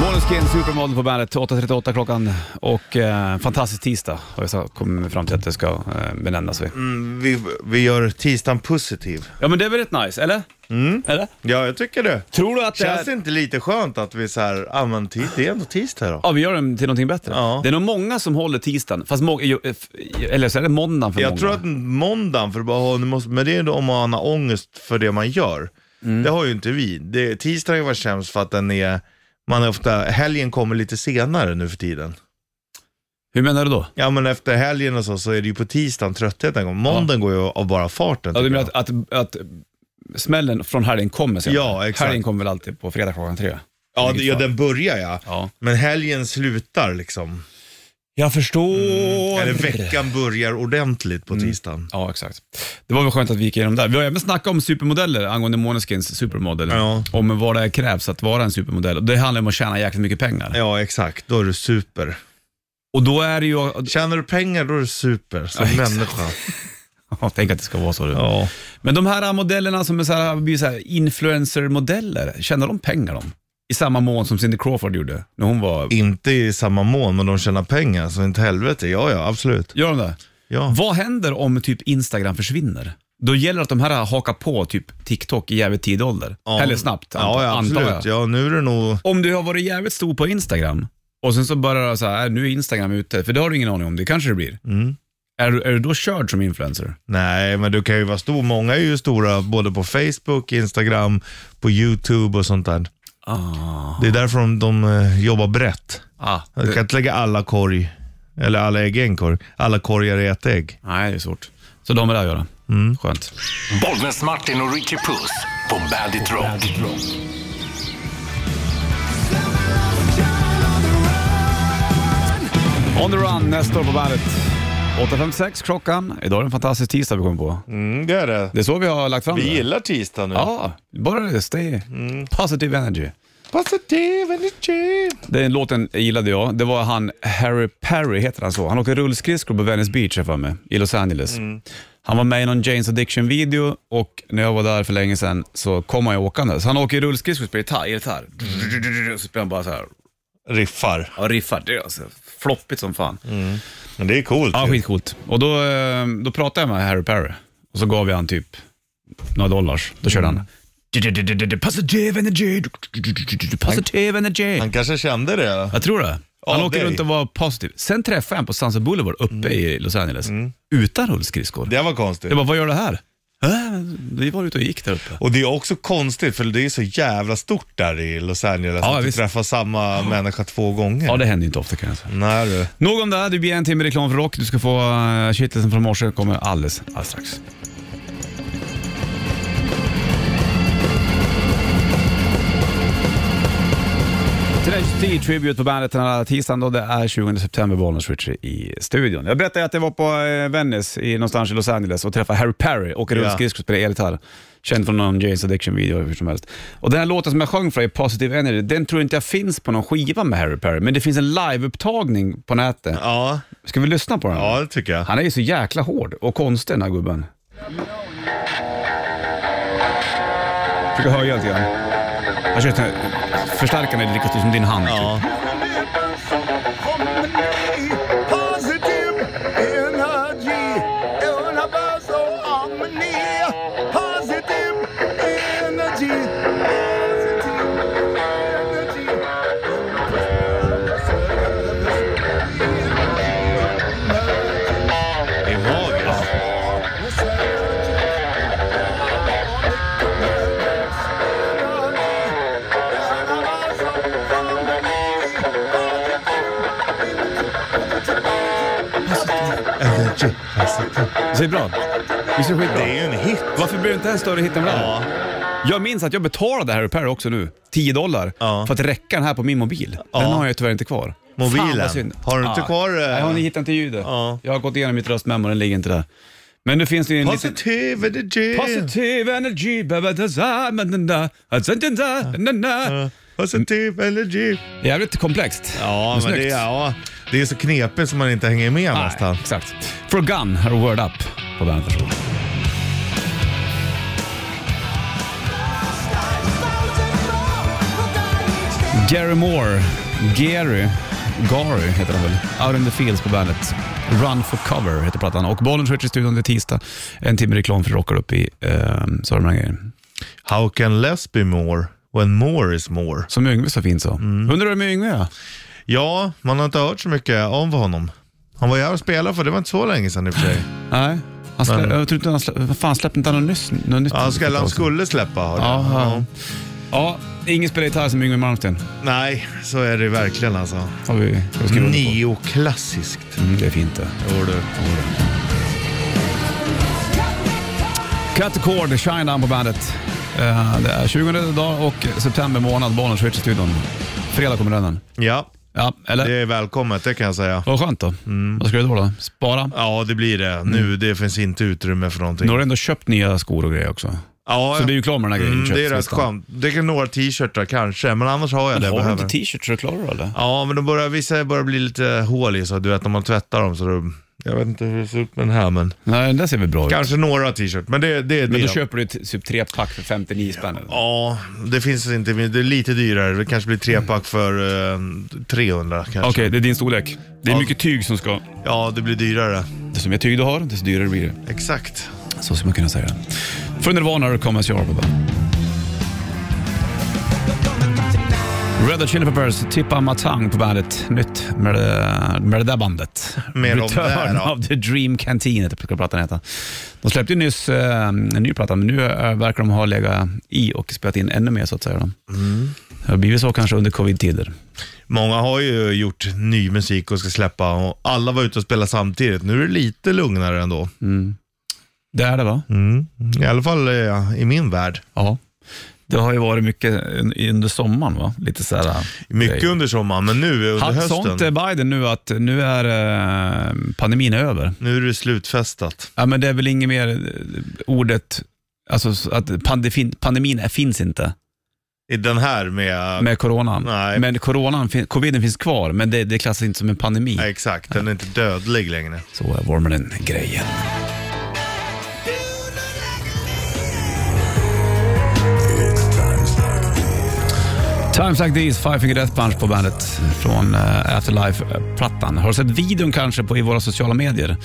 [SPEAKER 2] Måneskin, Supermodel på bandet, 8.38 klockan och eh, fantastisk tisdag har jag sagt- kommit fram till att det ska eh, benämnas. vid.
[SPEAKER 3] Mm. Vi, vi gör tisdagen positiv.
[SPEAKER 2] Ja men det är väl rätt nice, eller?
[SPEAKER 3] Mm.
[SPEAKER 2] Eller?
[SPEAKER 3] Ja, jag tycker det.
[SPEAKER 2] Tror du att det
[SPEAKER 3] Känns
[SPEAKER 2] är...
[SPEAKER 3] det inte lite skönt att vi så här, ja men tis- det är ändå tisdag idag.
[SPEAKER 2] Ja, vi gör den till någonting bättre.
[SPEAKER 3] Ja.
[SPEAKER 2] Det är nog många som håller tisdagen, fast må- ju- f- eller så är det måndagen för många.
[SPEAKER 3] Jag tror att måndagen, för bara, ha, nu måste, men det är ändå om man har ångest för det man gör. Det har ju inte vi. Det, tisdagen var sämst för att den är, man är ofta, helgen kommer lite senare nu för tiden.
[SPEAKER 2] Hur menar du då?
[SPEAKER 3] Ja men efter helgen och så, så är det ju på tisdagen tröttheten kommer. Måndagen går ju av bara farten.
[SPEAKER 2] Ja, du
[SPEAKER 3] tycker
[SPEAKER 2] menar
[SPEAKER 3] jag.
[SPEAKER 2] att, att, att smällen från helgen kommer sen?
[SPEAKER 3] Ja, exakt.
[SPEAKER 2] Helgen kommer väl alltid på fredag klockan tre?
[SPEAKER 3] ja,
[SPEAKER 2] vilket
[SPEAKER 3] det- ja
[SPEAKER 2] fall.
[SPEAKER 3] den börjar ja.
[SPEAKER 2] Ja.
[SPEAKER 3] Men helgen slutar liksom.
[SPEAKER 2] Jag förstår.
[SPEAKER 3] Mm. Eller veckan börjar ordentligt på tisdagen.
[SPEAKER 2] Ja, exakt. Det var väl skönt att vi gick igenom där. Vi har även snackat om supermodeller angående Måneskins supermodell.
[SPEAKER 3] Ja.
[SPEAKER 2] Om vad det krävs att vara en supermodell. Och Det handlar om att tjäna jäkligt mycket pengar.
[SPEAKER 3] Ja exakt, då är du super.
[SPEAKER 2] Och då är det ju...
[SPEAKER 3] Tjänar du pengar då är du super som
[SPEAKER 2] Ja, exakt.
[SPEAKER 3] människa.
[SPEAKER 2] Tänk att det ska vara så. Du.
[SPEAKER 3] Ja.
[SPEAKER 2] Men de här modellerna som är så här, blir så här influencer-modeller, tjänar de pengar de? I samma mån som Cindy Crawford gjorde när hon var...
[SPEAKER 3] Inte i samma mån, men de tjänar pengar, så inte helvete. Ja, ja, absolut.
[SPEAKER 2] Gör de det?
[SPEAKER 3] Ja.
[SPEAKER 2] Vad händer om typ Instagram försvinner? Då gäller det att de här hakar på typ TikTok i jävligt tidig ålder.
[SPEAKER 3] Ja.
[SPEAKER 2] Eller snabbt,
[SPEAKER 3] Ja, ja
[SPEAKER 2] antar jag.
[SPEAKER 3] absolut. Ja, nu är det nog...
[SPEAKER 2] Om du har varit jävligt stor på Instagram och sen så börjar det så här, äh, nu är Instagram ute, för det har du ingen aning om, det kanske det blir.
[SPEAKER 3] Mm.
[SPEAKER 2] Är, du, är du då körd som influencer?
[SPEAKER 3] Nej, men du kan ju vara stor. Många är ju stora både på Facebook, Instagram, på YouTube och sånt där.
[SPEAKER 2] Ah.
[SPEAKER 3] Det är därför de, de eh, jobbar brett.
[SPEAKER 2] ah
[SPEAKER 3] Du kan inte lägga alla korg, eller alla ägg i en korg. Alla korgar i ett ägg.
[SPEAKER 2] nej, det är svårt. Så de har det att göra.
[SPEAKER 3] Mm.
[SPEAKER 2] Skönt.
[SPEAKER 1] Bollnäs-Martin och Richie Puss på Bandit Rock.
[SPEAKER 2] On the run, nästa år på bandet. 8.56 klockan. Idag är det en fantastisk tisdag vi kommer på.
[SPEAKER 3] Mm, det är det.
[SPEAKER 2] Det är så vi har lagt fram det.
[SPEAKER 3] tisdag nu. Mm.
[SPEAKER 2] Ja, bara det. Stay positive energy.
[SPEAKER 3] Positive energy.
[SPEAKER 2] Den låten gillade jag. Det var han Harry Perry, heter han så? Han åker rullskridskor på Venice Beach jag för mig, i Los Angeles. Han var med i någon Jane's Addiction-video och när jag var där för länge sedan så kom han ju åkande. Så han åker rullskridskor och spelar gitarr. gitarr. Så spelar han bara så här
[SPEAKER 3] Riffar.
[SPEAKER 2] och riffar. Det är alltså floppigt som fan.
[SPEAKER 3] Men det är coolt.
[SPEAKER 2] Ja,
[SPEAKER 3] ju.
[SPEAKER 2] skitcoolt. Och då, eh, då pratade jag med Harry Perry och så gav jag han typ några dollars. Då körde han Positive energy, positive energy.
[SPEAKER 3] Han kanske kände det.
[SPEAKER 2] Jag tror det. Han
[SPEAKER 3] Ja,
[SPEAKER 2] åker
[SPEAKER 3] dig.
[SPEAKER 2] runt och var positiv. Sen träffade jag honom på Sunset Boulevard uppe i Los Angeles. Utan rullskridskor.
[SPEAKER 3] Mm. Det var konstigt.
[SPEAKER 2] Jag bara, vad gör du här? "Äh, men Vi var ute och gick där uppe.
[SPEAKER 3] Och det är också konstigt för det är så jävla stort där i Los Angeles
[SPEAKER 2] Ja,
[SPEAKER 3] att du
[SPEAKER 2] visst.
[SPEAKER 3] träffar samma människa två gånger.
[SPEAKER 2] Ja, det händer ju inte ofta kan jag säga.
[SPEAKER 3] Nej du.
[SPEAKER 2] Nog om det, här. det blir en timme reklam för rock. Du ska få eh, kittelsen från morse, kommer alldeles, alldeles strax. Teenage Tea Tribute på bandet den här tisdagen då. Det är 20 september, Bollnäs Ritchie i studion. Jag berättade ju att jag var på eh, Venice i någonstans i Los Angeles och träffade Harry Perry, åker
[SPEAKER 3] Ja.
[SPEAKER 2] rullskridskor och spelar elgitarr. Känd från någon Jane's Addiction-video hur som helst. Och den här låten som jag sjöng för dig, Positive Energy, den tror jag inte jag finns på någon skiva med Harry Perry, men det finns en liveupptagning på nätet.
[SPEAKER 3] Ja,
[SPEAKER 2] Ska vi lyssna på den?
[SPEAKER 3] ja det tycker jag.
[SPEAKER 2] Han är ju så jäkla hård och konstig den här gubben. Försöker höja lite grann. Jag kör sån här- förstärkaren är lika stor som din hand. typ.
[SPEAKER 3] Ja. Det är magiskt.
[SPEAKER 2] Så det är bra. Visst är det
[SPEAKER 3] Det
[SPEAKER 2] skitbra?
[SPEAKER 3] är ju en hit.
[SPEAKER 2] Varför blir det inte en större hit än vad det är?
[SPEAKER 3] Ja.
[SPEAKER 2] Jag minns att jag betalade Harry Perry också nu, 10 dollar,
[SPEAKER 3] Ja.
[SPEAKER 2] för att räcka den här på min mobil. Den har jag tyvärr inte kvar.
[SPEAKER 3] Mobilen?
[SPEAKER 2] Fan, vad synd. Ah.
[SPEAKER 3] Har du inte kvar, eh,
[SPEAKER 2] Nej, jag har hittat inte ljudet.
[SPEAKER 3] Ja.
[SPEAKER 2] Jag har gått igenom mitt röstmemo, den ligger inte där. Men nu finns det ju en liten...
[SPEAKER 3] Positive energy.
[SPEAKER 2] Positive energy, ba-ba-da-za, ma-na-na, a-za-da-da, na-na.
[SPEAKER 3] Positive energy.
[SPEAKER 2] Jävligt komplext.
[SPEAKER 3] Ja, men det,
[SPEAKER 2] snyggt.
[SPEAKER 3] är- ja, det är så knepigt som man inte hänger med nästan.
[SPEAKER 2] Nej, exakt. For Gun, här är Word Up på bandet. Varsågod. Gary Moore, Gary, Gary heter han väl, Out in the Fields på bandet. Run for cover heter plattan och bollen skjuts i studion till tisdag. En timme reklam för rockar upp i eh, Sörmland.
[SPEAKER 3] How can less be more when more is more?
[SPEAKER 2] Som Yngve så fint sa.
[SPEAKER 3] Mm.
[SPEAKER 2] Undrar hur med Yngve ja.
[SPEAKER 3] Ja, man har inte hört så mycket om honom. Han var ju här och spelade för det var inte så länge sedan i och för sig.
[SPEAKER 2] Nej, han slä,
[SPEAKER 3] Men-
[SPEAKER 2] jag tror inte han slä, vad fan släppte inte han något nyss- något nytt?
[SPEAKER 3] Ja, han skulle, han skulle släppa hörde jag.
[SPEAKER 2] Aha. Ja, ingen spelar gitarr som Yngwie Malmsteen.
[SPEAKER 3] Nej, så är det verkligen alltså.
[SPEAKER 2] Har vi har vi skrivit under på.
[SPEAKER 3] Neoklassiskt.
[SPEAKER 2] Mm, det är fint det.
[SPEAKER 3] Jo du.
[SPEAKER 2] Cut the cord, Shine Down på bandet. Eh, det är 20 dag och september månad, Bonniers Switch i studion. Fredag kommer den.
[SPEAKER 3] Ja,
[SPEAKER 2] Ja, eller?
[SPEAKER 3] det
[SPEAKER 2] Det...
[SPEAKER 3] är välkommet det kan jag säga.
[SPEAKER 2] Vad skönt då. Vad ska du då? då? Spara?
[SPEAKER 3] Ja, det blir det.
[SPEAKER 2] Mm.
[SPEAKER 3] Nu, det finns inte utrymme för någonting.
[SPEAKER 2] Nu har du ändå köpt nya skor och grejer också.
[SPEAKER 3] Ja,
[SPEAKER 2] Så du är ju klar med den här grejen.
[SPEAKER 3] mm, det är rätt
[SPEAKER 2] köpslistan.
[SPEAKER 3] skönt. Det kan några t-shirtar kanske, men annars har jag det jag
[SPEAKER 2] Har du
[SPEAKER 3] behöver.
[SPEAKER 2] inte t-shirts så är du klarar eller?
[SPEAKER 3] Ja, men de börjar, vissa börjar bli lite hål i så du vet när man tvättar dem så då, Jag vet inte hur det ser ut med den här men.
[SPEAKER 2] Nej, den där ser väl bra ut.
[SPEAKER 3] Kanske några t-shirt, men det, det är
[SPEAKER 2] Men
[SPEAKER 3] det.
[SPEAKER 2] då köper du t- typ tre pack för 59 spänn. eller?
[SPEAKER 3] Ja, det finns inte, det är lite dyrare. Det kanske blir trepack för eh, 300 kanske.
[SPEAKER 2] Okej, det är din storlek. Det är
[SPEAKER 3] Ja.
[SPEAKER 2] mycket tyg som ska...
[SPEAKER 3] Ja, det blir dyrare.
[SPEAKER 2] Desto mer tyg du har, desto dyrare blir det.
[SPEAKER 3] Exakt.
[SPEAKER 2] Så skulle man kunna säga. För Nirvana kommer jag på bandet. Red Hot Chili Peppers, Tippa Matang på bandet. Nytt med det, med det där bandet.
[SPEAKER 3] Mer om det här,
[SPEAKER 2] Return
[SPEAKER 3] ja.
[SPEAKER 2] of the Dream Canteen heter ska plattan heta. De släppte ju nyss eh, en ny platta, men nu eh, verkar de ha legat i och spelat in ännu mer så att säga. Mm. Det har blivit så kanske under covid-tider.
[SPEAKER 3] Många har ju gjort ny musik och ska släppa och alla var ute och spelade samtidigt. Nu är det lite lugnare ändå.
[SPEAKER 2] Det är det va?
[SPEAKER 3] Mm. I alla fall eh, i min värld.
[SPEAKER 2] Ja. Det har ju varit mycket under sommaren va? Lite så här,
[SPEAKER 3] Mycket
[SPEAKER 2] Det-
[SPEAKER 3] under sommaren, men nu under
[SPEAKER 2] Hade sånt eh,
[SPEAKER 3] hösten,
[SPEAKER 2] Biden nu att nu är eh, pandemin över?
[SPEAKER 3] nu är det slutfestat.
[SPEAKER 2] Ja, men det är väl inget mer eh, ordet, alltså s- att pandefin, pandemin är- finns inte.
[SPEAKER 3] I den här med...
[SPEAKER 2] med coronan.
[SPEAKER 3] Nej.
[SPEAKER 2] Men coronan, fin- coviden finns kvar, men det, det klassas inte som en pandemi.
[SPEAKER 3] Nej, exakt, den är inte dödlig längre.
[SPEAKER 2] Så var med den grejen. Times Like These, Five Finger Death Punch på bandet från eh, Afterlife-plattan. Har du sett videon kanske på, i våra sociala medier?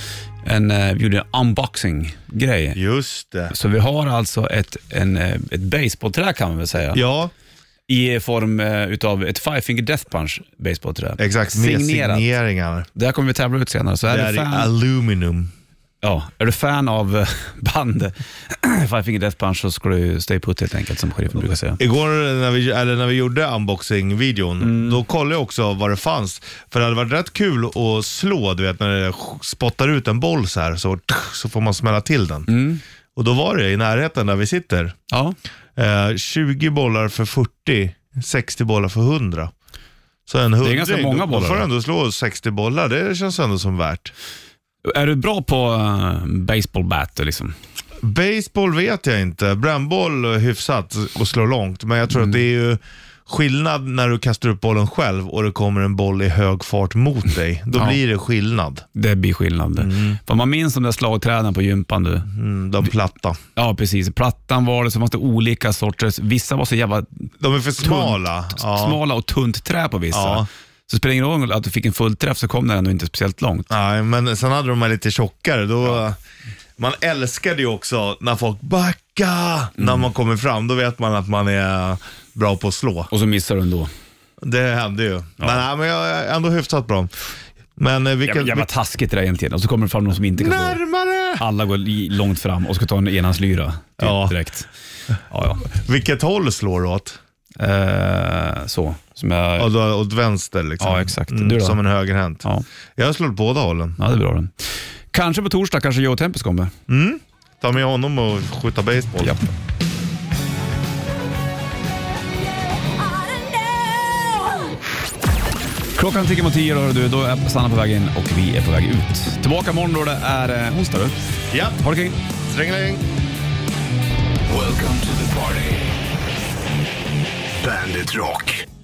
[SPEAKER 2] En, eh, vi gjorde en unboxing-grej.
[SPEAKER 3] Just det.
[SPEAKER 2] Så vi har alltså ett, en, eh, ett baseballträ kan man väl säga.
[SPEAKER 3] Ja,
[SPEAKER 2] I form eh, utav ett Five Finger Death Punch baseballträ.
[SPEAKER 3] exakt. Med
[SPEAKER 2] Signerat.
[SPEAKER 3] signeringar.
[SPEAKER 2] Det här kommer vi tävla ut senare. Så
[SPEAKER 3] Det
[SPEAKER 2] är,
[SPEAKER 3] är
[SPEAKER 2] du
[SPEAKER 3] i
[SPEAKER 2] fan,
[SPEAKER 3] aluminium.
[SPEAKER 2] ja, är du fan av eh, band Five Finger Death Punch så ska du stay put helt enkelt, som sheriffen brukar säga.
[SPEAKER 3] Igår när vi, eller när vi gjorde unboxing-videon,
[SPEAKER 2] Mm.
[SPEAKER 3] då kollade jag också vad det fanns. För det hade varit rätt kul att slå, du vet när det spottar ut en boll så här, så, så får man smälla till den.
[SPEAKER 2] Mm.
[SPEAKER 3] Och då var det i närheten där vi sitter.
[SPEAKER 2] Ja.
[SPEAKER 3] Eh, 20 bollar för 40, 60 bollar för 100. Så en hundring,
[SPEAKER 2] ganska många
[SPEAKER 3] Då
[SPEAKER 2] bollar,
[SPEAKER 3] får du
[SPEAKER 2] va?
[SPEAKER 3] ändå slå 60 bollar, det känns ändå som värt.
[SPEAKER 2] Är du bra på eh, baseball bat liksom?
[SPEAKER 3] Baseball vet jag inte. Brännboll är hyfsat och slår långt, men jag tror att det är ju skillnad när du kastar upp bollen själv och det kommer en boll i hög fart mot dig. Då
[SPEAKER 2] Ja.
[SPEAKER 3] blir det skillnad.
[SPEAKER 2] Det blir skillnad. För man minns de där slagträden på gympan du.
[SPEAKER 3] Mm, de platta.
[SPEAKER 2] Ja, precis. Plattan var det, så fanns det olika sorters. Vissa var så jävla
[SPEAKER 3] De är för smala. Ja.
[SPEAKER 2] smala och tunt trä på vissa.
[SPEAKER 3] Ja.
[SPEAKER 2] Så spelar det ingen roll att du fick en full träff så kom den ändå inte speciellt långt.
[SPEAKER 3] Nej, men sen hade de här lite tjockare. Då, Man älskade ju också när folk backar när man kommer fram. Då vet man att man är bra på att slå.
[SPEAKER 2] Och så missar du ändå.
[SPEAKER 3] Det hände ju. Men, nej, men jag är ändå hyfsat bra. Men eh, vilka...
[SPEAKER 2] Jävla, jävla taskigt det där egentligen. Och så kommer det fram någon som inte kan slå.
[SPEAKER 3] Närmare!
[SPEAKER 2] Alla går li- långt fram och ska ta en enhandslyra typ,
[SPEAKER 3] Ja.
[SPEAKER 2] direkt. Ja,
[SPEAKER 3] Vilket håll slår du åt?
[SPEAKER 2] ja. Eh, så. Som jag,
[SPEAKER 3] Ja, du- åt vänster liksom?
[SPEAKER 2] Ja, exakt. Du då?
[SPEAKER 3] Som en högerhänt?
[SPEAKER 2] ja.
[SPEAKER 3] Jag slår åt båda hållen.
[SPEAKER 2] ja, det är bra den. Kanske på torsdag kanske Joe Tempus kommer.
[SPEAKER 3] Ta med honom och skjuta baseball.
[SPEAKER 2] Ja. Klockan tickar mot tio, då, hör du. då är Sanna på väg in och vi är på väg ut. Tillbaka imorgon då det är eh, onsdag. Du.
[SPEAKER 3] ja.
[SPEAKER 2] Ha det kring.
[SPEAKER 3] Strängling.
[SPEAKER 1] Welcome to the party. Bandit Rock.